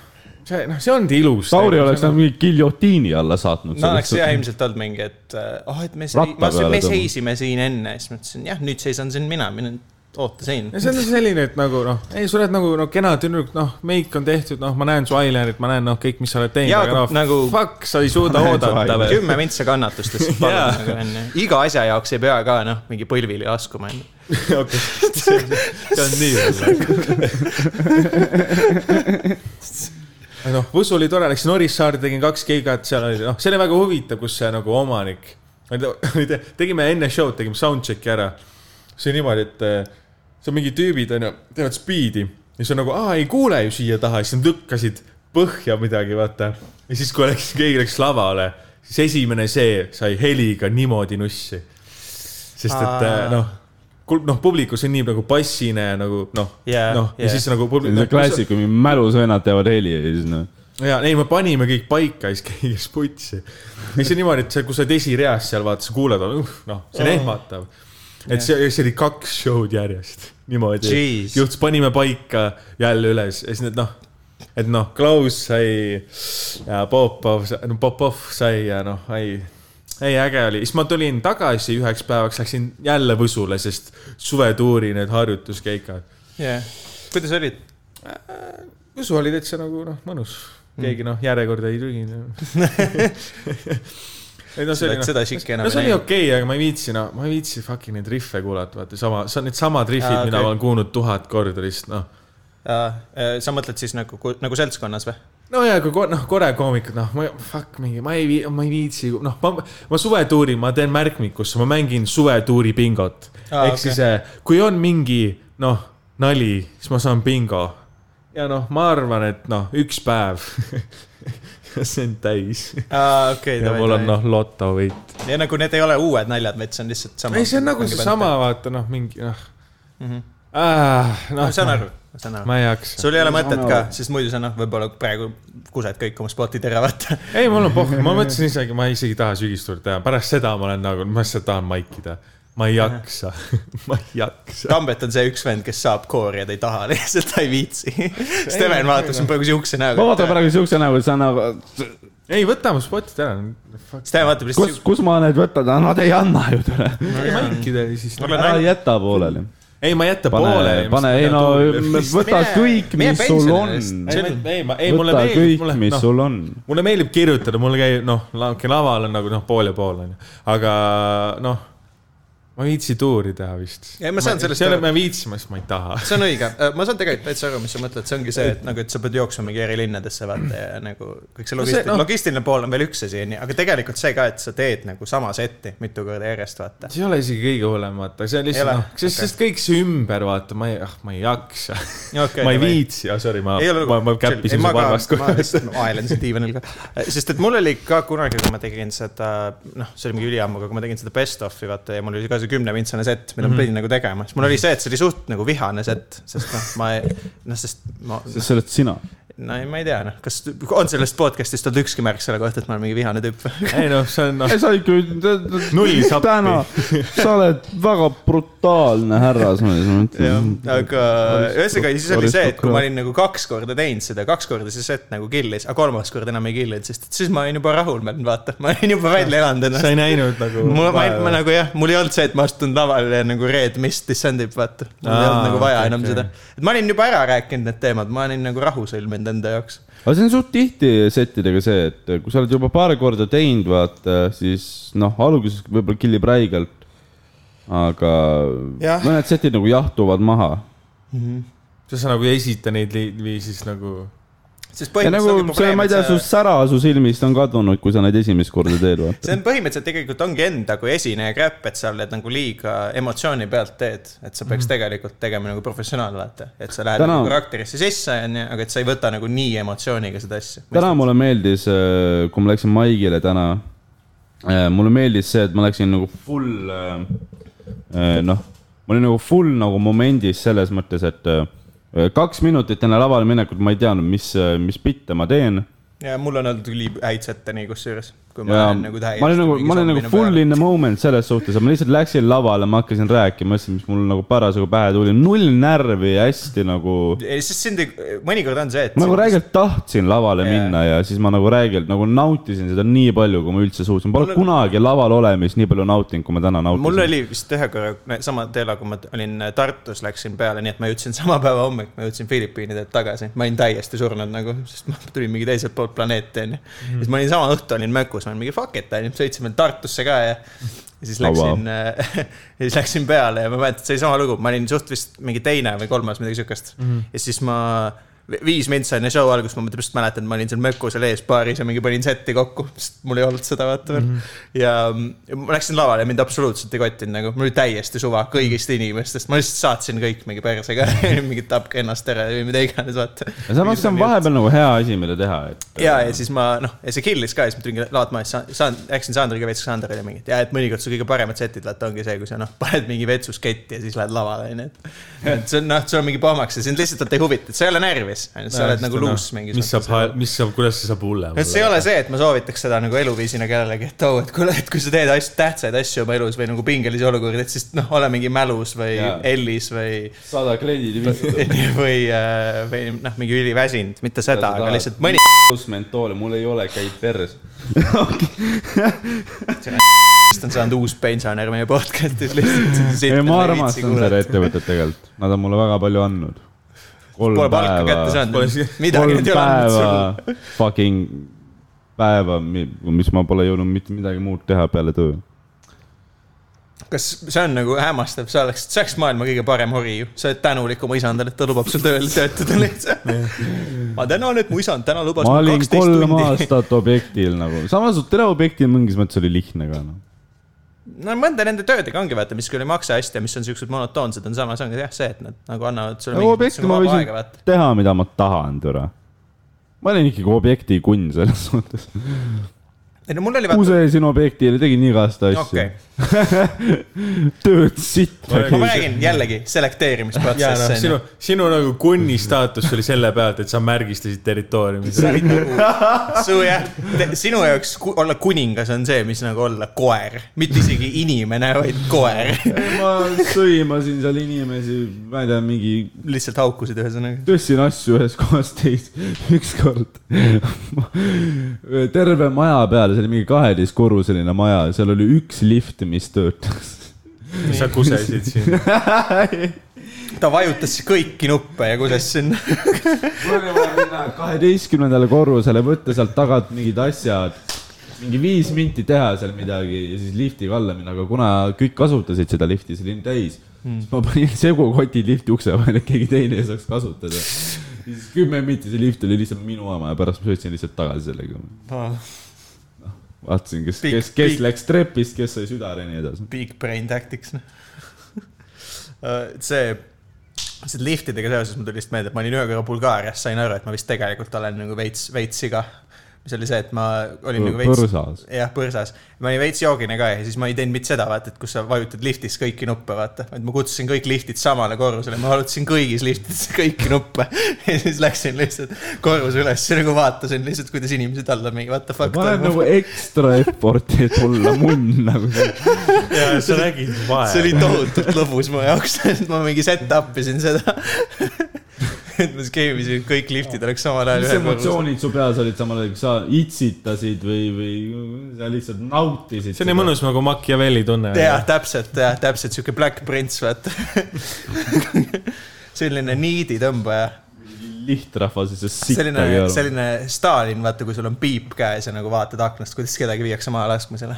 see noh , see ongi ilus . Nagu, Tauri oleks nagu- nad mingi giljotiini alla saatnud . no oleks jah ilmselt olnud mingi , et äh, ah oh, , et me , Ratta ma , peale me tõmbama. seisime siin enne , siis ma ütlesin jah , nüüd seisan siin mina , mina ootasin . see on selline , et nagu noh , ei , sa oled nagu noh , kena tüdruk , noh , meik on tehtud , noh , ma näen su eyelinerit , ma näen noh , kõik , mis sa oled teinud , Jaa, aga noh aga nagu- fuck , sa ei suuda oodata veel . kümme vintsa kannatustest , Jaa. palun , nagu onju . iga asja jaoks ei pea ka noh , mingi põlvili laskuma onju . see on nii . noh , Võsu oli tore , läksin Orissaarde , tegin kaks gigat , seal oli noh , see oli väga huvitav , kus see nagu omanik , tegime enne show'd , tegime soundcheck'i ära . see oli niimoodi , et eh, see on mingi tüübid onju , teevad speed'i ja siis on nagu , aa ei kuule ju siia taha , siis nad lükkasid põhja midagi , vaata . ja siis , kui läks , keegi läks lavale , siis esimene see sai heliga niimoodi nussi . sest et eh, Aa. noh , noh , publikus on nii nagu bassine nagu noh Jaa, noh , ja jaa. siis nagu publik- see klassika , mingi mälusõnad teevad heli ja siis noh . ja ei , me panime kõik paika ja siis keegi läks putsi . ja siis on niimoodi , et see , kui sa oled esireas seal vaata , sa kuuled , noh , see on ehmatav . et see , see oli kaks show'd järjest niimoodi . Jeez. juhtus , panime paika jälle üles ja siis need noh , et noh , Klaus sai ja Popov , no Popov sai ja noh , ei . ei , äge oli , siis ma tulin tagasi üheks päevaks , läksin jälle Võsule , sest suvetuuri need harjutuskeikad . yeah. . kuidas olid ? Võsu oli täitsa nagu noh , mõnus , Mm. keegi noh , järjekorda ei trüginud . ei no see oli seda , noh , seda šikki enam no see oli näinud. okei okay, , aga ma ei viitsi , no ma ei viitsi fucking neid riffe kuulata , vaata sama , see on needsamad riffid Aa, okay. , mida okei. ma olen kuulnud tuhat korda lihtsalt noh . Aa, äh, sa mõtled siis nagu , nagu seltskonnas või ? no ja kui kor- noh , Kore koomikud , noh , ma fuck mingi , ma ei , ma ei viitsi , noh , ma , ma suvetuuri , ma teen märkmikusse , ma mängin suvetuuri bingot . Aa, ehk okei. siis , kui on mingi noh , nali , siis ma saan bingo . ja noh , ma arvan , et noh , üks päev see on täis aa , Ah, okei , ja mul on . noh , lotovõit . ja nagu need ei ole uued naljad , vaid see on lihtsalt sama . Mhm. ei , see on nagu seesama , vaata noh , mingi noh ah, . ma noh , saan aru , ma saan aru . ma ei jaksa . sul ei ole mõtet ka , sest muidu sa noh , võib-olla praegu kused kõik oma sporti teravat . ei , mul on pohhu , ma mõtlesin isegi , ma isegi ei taha sügistuurt teha , pärast seda ma olen nagu , ma lihtsalt tahan maikida . ma ei jaksa , ma ei jaksa . Tambet on see üks vend , kes saab koori ja ta ei taha lihtsalt , ta ei viitsi . Steven vaatab sind praegu siukse ma näoga . vaatan praegu siukse näoga , et sa nagu , ei , võta mu spotid ära , Steven vaatab lihtsalt kus , kus ma need võtan , nad ei anna ju tule . maikida ja siis . ära jäta pooleli . ei , ma ei jäta pane poolele ., pane , ei no võta Mine- kõik , mine mis sul on pensionile lihtsalt. . ei , ei , ma , ei mulle võta meeldib , kõik , mulle , mis noh , sul on . mulle meeldib kirjutada , mul käib , noh , okei , laval on nagu noh , pool ja pool on ju , aga noh , ma ei viitsi tuuri teha vist . Ei, ma saan sellest aru . aru. ma ei viitsi , ma lihtsalt , ma ei taha . see on õige , ma saan tegelikult täitsa aru , mis sa mõtled , see ongi see , et nagu , et sa pead jooksumingi eri linnadesse vaata ja nagu kõik see see, logistiline noh. no. , logistiline pool on veel üks asi , onju , aga tegelikult see ka , et sa teed nagu sama setti mitu korda järjest , vaata . see ei ole isegi kõige hullem , vaata , see on Ei ole? lihtsalt noh , sest okay. , sest kõik see ümber , vaata , ma ei , ah , ma ei jaksa Okei, okay, . ma ei davai. viitsi , ah sorry , ma ei ole , ma , ma käppisin su varvast kohe . ma kohe . lihtsalt aelen siin diivanil ka . sest et mul oli ka kunagi , kui ma tegin seda , noh , see oli mingi üliammu , aga kui ma tegin seda best of'i vaata ja mul oli ka see kümnevintsane set , mida mm -hmm. ma pidin nagu tegema , siis mul oli see , et see oli suht nagu vihane set , sest noh , ma ei , noh , sest ma , sest sa oled sina . no ei, ma ei tea , noh , kas on sellest podcast'ist olnud ükski märk selle kohta , et ma olen mingi vihane tüüp ? ei noh , see on noh , ei sa ikka Null sappi. täna , sa oled väga brutaalne härras , ma jah ütlen ,. aga ühesõnaga , siis oli see , et kui ma olin nagu kaks korda teinud seda , kaks korda see set nagu kill'is , aga kolmas kord enam ei kill'inud , sest et siis ma olin juba rahulmeelne , vaata , ma olin juba välja elanud sa ennast . ei näinud nagu . mul , ma , ma . nagu jah , mul ei olnud see , et ma astun lavale ja nagu red mist descendib , vaata . mul ei Aa, olnud nagu vaja okei, enam okei. seda . et ma olin juba ära rääkinud need teemad , ma olin nagu rahu sõlminud enda jaoks . aga see on suht tihti settidega see , et kui sa oled juba paar korda teinud , vaata , siis noh , alguses võib-olla killib räigelt . aga Jah. mõned setid nagu jahtuvad maha . sa nagu ei esita neid li- viisis nagu . sest ja nagu põhimõtteliselt ongi see , probleem , ma ei et tea , sa- su sära su silmist on kadunud , kui sa neid esimest korda teed , see vaata . on põhimõtteliselt tegelikult ongi enda kui esineja käpp , et sa oled nagu liiga emotsiooni pealt teed , et sa peaks tegelikult tegema nagu professionaal , vaata . et sa lähed Mhm. Täna- nagu karakterisse sisse , onju , aga et sa ei võta nagu nii emotsiooniga seda asja . täna mulle meeldis , kui ma läksin Maigile täna , mulle meeldis see , et ma läksin nagu full , noh , ma olin nagu full nagu momendis selles mõttes , et äh, kaks minutit enne lavale minekut ma ei teadnud , mis , mis bitte ma teen . ja mul on olnud üli häid sette nii kusjuures , kui ma ja olen ma nagu olin nagu , ma olin nagu full in the moment selles suhtes , et ma lihtsalt läksin lavale , ma hakkasin rääkima , mõtlesin , mis mul nagu parasjagu pähe tuli , null närvi , hästi nagu ei , sest sind ei , mõnikord on see , et ma nagu räigelt tahtsin lavale Jaa. yeah. minna ja siis ma nagu räigelt nagu nautisin seda nii palju , kui ma üldse suutsin . Pole Mul on- kunagi laval olemist nii palju nautinud , kui ma täna mul nautisin . oli vist ühe korra no, sama teela , kui ma t- olin Tartus , läksin peale , nii et ma jõudsin sama päeva hommik , ma jõudsin Filipiinidelt tagasi . ma olin täiesti surnud nagu , sest ma tulin mingi teiselt poolt planeeti onju . siis ma olin sama õhtu olin mökus , ma olin mingi fuck it onju , sõitsime Tartusse ka ja . ja siis Oh, läksin oh, , ja siis läksin peale ja ma mäletan , see oli sama lugu , ma olin suht vist mingi teine või kolmas , midagi siukest mm . -hmm. ja siis ma vi- viis mintsa enne show algust , ma täpselt mäletan , ma olin seal möku seal ees baaris ja mingi panin setti kokku , sest mul ei olnud seda vaata veel mm . -hmm. ja mm, ma läksin lavale , mind absoluutselt ei kottinud nagu , mul oli täiesti suva kõigist inimestest , ma lihtsalt saatsin kõik mingi persega , mingi tapke ennast ära või mida iganes , vaata . ja samas see on vahepeal nagu hea asi , mida teha , et ja , ja siis ma noh , ja see kill'is ka ja siis ma tulin laadma ja siis saan , rääkisin Sandriga veits , Sander oli mingi , et jaa , et mõnikord su kõige paremad setid vaata ongi see , kui sa noh , paned mingi vetsus ketti ja siis lähed lavale onju . et see on noh , sul on mingi pohmaks ja sind lihtsalt ei huvita , et sa ei ole närvis , sees , sa oled nagu luus mingis mis saab mõttes. , mis saab , kuidas see saab hullem et see ei ole see , et ma soovitaks seda nagu eluviisina kellelegi , et oo , et kuule , et kui sa teed asju , tähtsaid asju oma elus või nagu pingelisi olukordi , et siis noh , ole mingi mälus või Jaa. ellis või , sada kliendid või , või noh , mingi üliväsinud , mitte seda , aga lihtsalt mõni . pluss mentoole , mul ei ole , käib perres . on saanud uus pensionär meie podcast'is lihtsalt . ei , ma armastan seda . ettevõtet tegelikult , nad on mulle väga palju andnud . kolm Pole palka kätte päeva , saanud , midagi kolm nad ei ole andnud päeva sulle . fucking päeva , mis ma pole jõudnud mitte midagi muud teha peale töö . kas see on nagu hämmastav , sa oleks , sa oleks maailma kõige parem hori ju , sa oled tänulik oma isandale , et ta lubab sul tööl töötada lihtsalt . ma tänan , et mu isand täna lubas ma mul olin kaksteist kolm tundi . aastat objektil nagu , samas teleobjektil mingis mõttes oli lihtne ka noh . no mõnda nende töödega ongi vaata , mis küll ei maksa hästi ja mis on siuksed monotoonsed , on samas ongi jah see , et nad nagu annavad sulle nagu mingit objekti niisugune ma vaba aega võisin vaata . teha , mida ma tahan , türa . ma olin ikkagi objekti kunn selles suhtes . ei no mul oli vaata , kusesin objektile , tegin igast asju okei okay. ., tööd sitt . ma räägin jällegi jaa , noh , selekteerimisprotsess sinu on , sinu nagu kunni staatus oli selle pealt , et sa märgistasid territooriumi . ju . su jah , sinu jaoks ku, olla kuningas on see , mis nagu olla koer , mitte isegi inimene , vaid koer . ma sõimasin seal inimesi , ma ei tea , mingi , lihtsalt haukusid ühesõnaga . tõstsin asju ühest kohast teist , ükskord . terve maja peal , see oli mingi kaheteistkorruseline maja , seal oli üks lift , mis töötas . sa kusesid siin . ta vajutas kõiki nuppe ja kuidas sinna . mul oli vaja minna kaheteistkümnendale korrusele , võtta sealt tagant mingid asjad , mingi viis minti teha seal midagi ja siis liftiga alla minna , aga kuna kõik kasutasid seda lifti , see oli nii täis mm. , siis ma panin segukoti lifti ukse vahele , et keegi teine ei saaks kasutada . ja siis kümme minti see lift oli lihtsalt minu oma ja pärast ma sõitsin lihtsalt tagasi sellega . Oh, vaatasin , kes , Pikk- kes , kes pikk- läks trepist , kes sai südale ja nii edasi . Big brain tactics , noh . see , see liftidega seoses mul tuli lihtsalt meelde , et ma olin ühe korra Bulgaarias , sain aru , et ma vist tegelikult olen nagu veits , veits siga . mis oli see , et ma olin nagu veits . põrsas . jah , põrsas . ma olin veits joogine ka ja siis ma ei teinud mitte seda , vaata , et kus sa vajutad liftis kõiki nuppe , vaata . et ma kutsusin kõik liftid samale korrusele , ma vajutasin kõigis liftides kõiki nuppe . ja siis läksin lihtsalt korruse üles ja nagu vaatasin lihtsalt , kuidas inimesed alla mingi what the fuck ma olen toimub . nagu ekstra effort'i , et olla munn nagu . jaa , sa nägid see oli vaeva . tohutult lõbus mu jaoks , et ma mingi set up isin seda . et ma skeemisin , et kõik liftid oleks samal ajal mis ühe korruse . emotsioonid su peas olid samal ajal , kas sa itsitasid või , või sa lihtsalt nautisid ? see on nii . mõnus nagu Machiavelli tunne . jah , täpselt , jah , täpselt sihuke Black Prince , vaata . selline niidi tõmbaja lihtrahvas ei saa selline sittagi , aru . selline Stalin , vaata , kui sul on piip käes ja nagu vaatad aknast , kuidas kedagi viiakse maha laskmisele .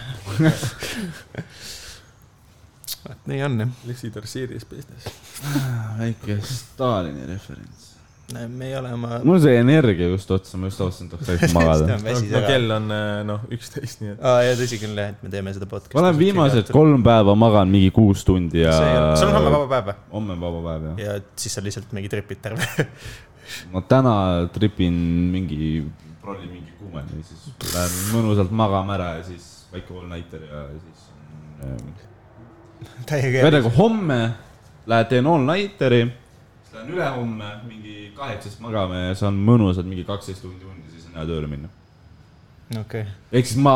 vot nii on jah . Lissid are serious business . väike Stalini referents . me ei ole oma . mul see energia just otsa , ma just avastasin , et tahaks väike magada . no kell on äh, noh , üksteist , nii et . aa jaa , tõsi küll jah , et me teeme seda podcast'i . ma olen viimased . kolm päeva magan mingi kuus tundi ja . sul on homme vaba päev või ? homme on vaba päev jah . ja siis sa lihtsalt mingi tripid terve . ma täna tripin mingi , prollin mingi kuumeni , siis lähen mõnusalt magama ära ja siis väike all nighter ja siis on ähm, täiega hea . ühesõnaga homme lähed teen all nighteri , siis lähen ülehomme mingi kaheksast magama ja saan mõnusalt mingi kaksteist tundi und ja siis on hea tööle minna . okei . ehk siis ma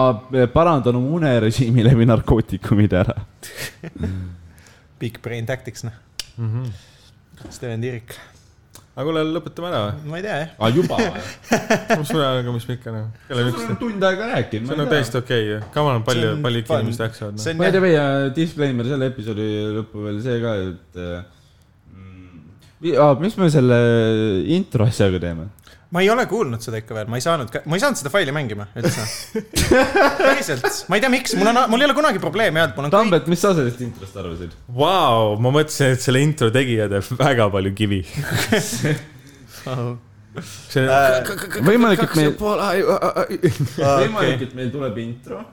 parandan oma unerežiimi läbi narkootikumid ära . Big brain tactics noh . Mhm. Steven Tiirik . aga kuule , lõpetame ära või ? ma ei tea jah . aa , Ah, juba või ? mul suve aega , mis me ikka noh , kell on üksteist . tund aega rääkinud . see on nagu täiesti okei okay. , kamal on palju See on , palju fun. inimesi jaksavad noh. see no. . on ma ei jah tea , meie disclaimer selle episoodi lõppu veel see ka , et mm, vi- aa, mis me selle intro asjaga teeme ? ma ei ole kuulnud seda ikka veel , ma ei saanud , ma ei saanud seda faili mängima üldse . päriselt , ma ei tea , miks , mul on , mul ei ole kunagi probleemi olnud , mul on kõik , Tambet , mis sa sellest introst arvasid ? Vau , ma mõtlesin , et selle intro tegija teeb väga palju kivi . see Äh, on , võimalik , et meil , Ah, võimalik , et meil tuleb intro .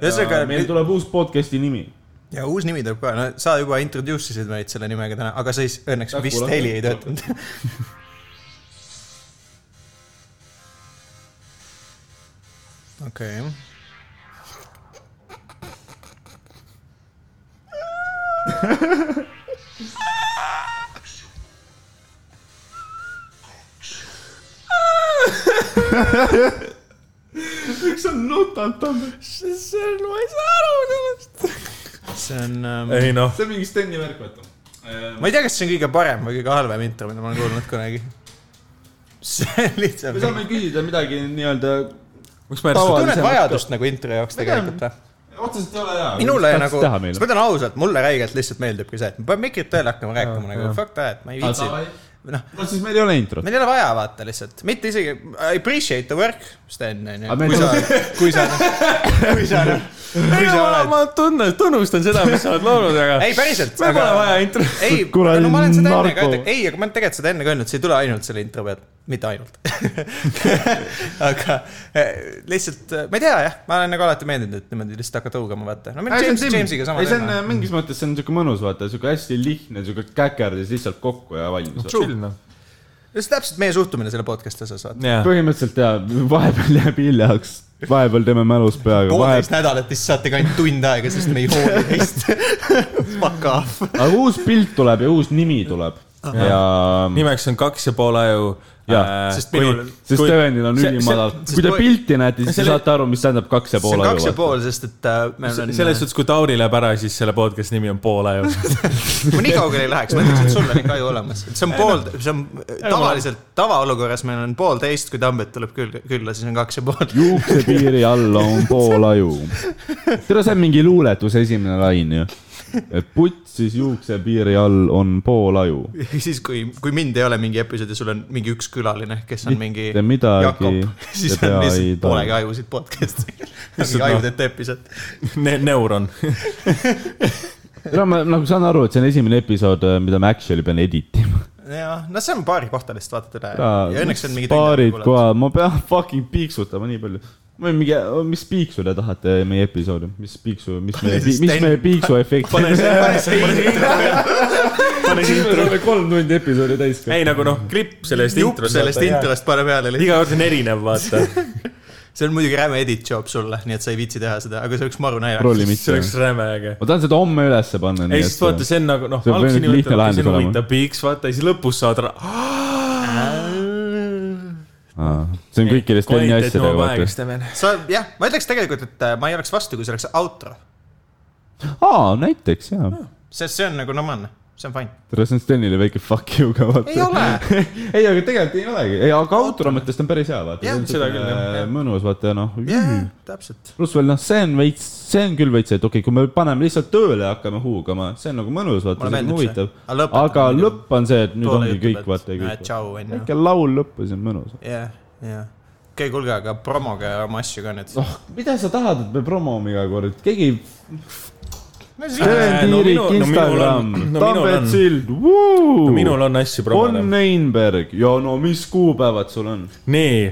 ühesõnaga meil nüüd- tuleb uus podcast'i nimi . ja uus nimi tuleb ka , no sa juba introduce isid meid selle nimega täna , aga siis õnneks Taku vist lahti. heli ei töötanud . okei , miks sa nutad Tambet ? see on , ma ei saa aru sellest . see on ähm, , ei noh , see on mingi Steni värk , vaata . Ehm, ma ei tea , kas see on kõige parem või kõige halvem intro , mida ma olen kuulnud kunagi . see on me lihtsalt , saame küsida midagi nii-öelda , miks ma järjest Tavaliselt- tunned vajadust nagu intro jaoks Ma tean. tegelikult või ? otseselt ei ole hea . minule tahtsid nagu , teha ma meile? ütlen ausalt , mulle räigelt lihtsalt meeldibki see , et me peame mikrit tööle hakkama rääkima nagu fuck that , ma ei viitsi . noh , no siis meil ei ole introt . meil ei ole vaja vaata lihtsalt , mitte isegi I appreciate the work , Sten onju Aga . meil kui sa tuleb- , kui sa , kui sa , kui sa oled . ma tunnen , tunnustan seda , mis sa oled laulnud , aga ei , päriselt . meil pole vaja intro . ei , kuradi no ma olen seda enne ka narko. öelnud , ei , aga ma olen tegelikult seda enne ka öelnud , see ei tule ainult selle intro pealt , mitte ainult . aga eh, lihtsalt , ma ei tea jah , ma olen nagu alati meeldinud , et niimoodi lihtsalt hakkad hõugama , vaata . no meil ei , James , see on Jamesiga sama ei , see teema . on eh, äh, mingis mõttes , see on siuke mõnus , vaata , siuke hästi lihtne , siuke käkerdas lihtsalt kokku ja valmis . chill noh . see on täpselt meie suhtumine selle podcast'i osas , vaata . jah , põhimõtteliselt jaa , vahepeal jääb hiljaks , vahepeal teeme mälus peaga , poolteist vahepeal , nädalat , siis saategi ainult tund aega , sest me ei hooli teist . Fuck off . aga uus pilt tuleb ja uus nimi tuleb Ah. ja nimeks on kaks ja pool aju . Jah, sest minul- sest kui, Stevenil on see- ülimadal see- , kui te see- pilti näete , siis te selle- saate aru , mis tähendab kaks ja see pool on kaks ja aju . pool , sest et äh, meil on . selles suhtes , kui Tauri läheb ära , siis selle podcast'i nimi on Pool aju . ma nii kaugele ei läheks , ma ütleks , et sul on ikka aju olemas , see on pool , see on äh, tavaliselt tavaolukorras meil on poolteist , kui Tambet tuleb küll , külla , siis on kaks ja pool . juuksepiiri all on pool aju . tere , see on mingi luuletuse esimene lain ju . et putsis juuksepiiri all on pool aju . siis , kui , kui mind ei ole mingi episood ja sul on mingi üks külaline , kes on mingi mitte midagi Jakob , siis on te pea ei lihtsalt taha poolega . ajusid podcast'i . Lihtsalt mingi noh. ajudeta episood . Neuron . no ma nagu saan aru , et see on esimene episood , mida ma actually pean edit ima . jah , no see on paari kohta lihtsalt vaatad üle ja õnneks on mingi . nagu paarid . kohe , ma pean fucking piiksutama nii palju . või mingi , mis piiksu te tahate meie episoodi , mis piiksu , mis meie , siis mis ten- meie piiksu efekt . pane see , pane see intro . pane see intro . kolm tundi episoodi täis . ei nagu noh , klipp sellest jupp introst . sellest . introst pane peale lihtsalt . iga kord on erinev , vaata . see on muidugi räme edit job sulle , nii et sa ei viitsi teha seda , aga see oleks maru Trolli naljakas . mitte. see oleks räme äge . ma tahan seda homme ülesse panna . ei , sest vaata , see on nagu noh , See on alguses lihtne niimoodi , et lahendus see on olema. huvitav piiks , vaata ja siis lõpus saad ra- . see on kõikide Steni asjadega , vaata . sa jah , ma ütleks tegelikult , et äh, ma ei oleks vastu , kui see oleks outro , aa , näiteks jaa . sest see on nagu normaalne , see on fine . tere , see on Stenile väike fuck you ka , vaata . ei ole , ei , aga tegelikult ei olegi , ei , aga autori mõttes ta on päris hea , vaata . Jah, seda küll, jah, jah. mõnus , vaata noh . jah , täpselt . pluss veel noh , see on veits , see on küll veits , et okei okay, , kui me paneme lihtsalt tööle ja hakkame huugama , see on nagu mõnus , vaata , Mulle see on meeldib see. Aga huvitav . lõpetab aga muidugi. lõpp on see , et nüüd ongi kõik , vaata ja kõik . tšau , onju . väike laul lõppu , see on mõnus . jah , jah . okei , kuulge , aga promoge oma asju ka nüüd . oh , mida sa tahad , et me promome iga kord , keegi . Äh, Steven no Tiirik minu- no minul on- , Instagram no , minul on- Tambet Sild , vuu . minul on asju on promoda . Neinberg ja no mis kuupäevad sul on ? nii ,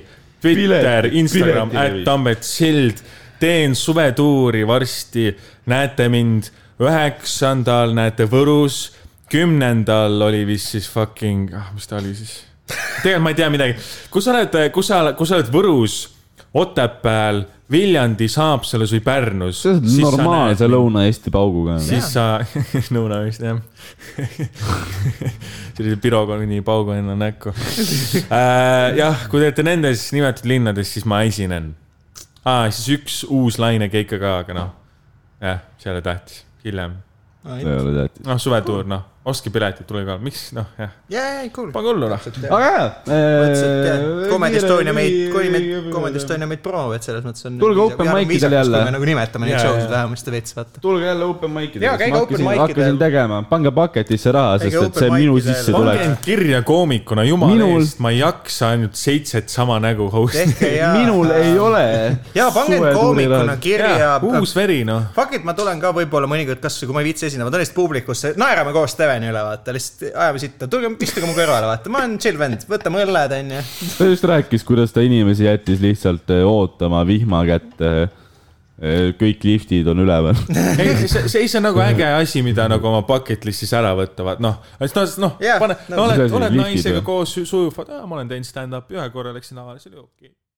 Twitter , Pileti- Instagram , pileti või? at Tambet Sild , teen suvetuuri varsti , näete mind üheksandal , näete Võrus , kümnendal oli vist siis fucking , ah , mis ta oli siis ? tegelikult ma ei tea midagi , kus sa oled , kus sa , kus sa oled Võrus , Otepääl , Viljandis , Haapsalus või Pärnus ? see on normaalse . Lõuna-Eesti pauguga . siis sa , nõuna vist jah . sellise pirogoni paugu enne näkku äh, . jah , kui te olete nendes nimetatud linnades , siis ma esinen ah, . siis üks uus laine keika ka , aga noh , jah , see ei ole tähtis , hiljem . ei ole tähtis . noh , suvetuur , noh , ostke piletid , tulge ka , miks noh , jah , jaa , ei kuulge . pange hullu , noh . aga äh, jaa . Comedy Estonia meid , Comedy Estonia meid promob , et selles mõttes on . Tulge open mic idele jälle. me nagu nimetame neid Jaa, show sid jaa. vähemasti veits , vaata . tulge jälle open mic idele . Jaa, käige open mic idel. hakkasin tegema , pange paketisse raha , Käige sest et open see on mic minu idel. sissetulek pange . end kirja koomikuna , jumala Minul- Minul... eest , ma ei jaksa ainult seitset sama nägu host'i . tehke jaa . minul ei . ole . jaa , pange nagu end koomikuna . kirja . uus veri , noh . Fuck it , ma tulen ka võib-olla mõnikord , kas või kui ma ei viitsi esinema , tulen lihtsalt publikusse , naerame koos Steveni üle , vaata , lihtsalt ajame sitta , tulge istuge mu kõrvale , vaata , ma olen chill vend , võtame õlled , onju . ta just rääkis , kuidas ta inimesi jättis lihtsalt eh, ootama vihma kätte . kõik liftid on üleval . ei , see , see , see on nagu äge asi , mida nagu oma bucket list'is ära võtta , vaat noh , noh , noh Jah, , pane , nõus. oled Mis , asi, oled liftid naisega või? koos sujuv , ma olen teinud stand-up'i ühe korra , läksin lavale , see oli okei okay. .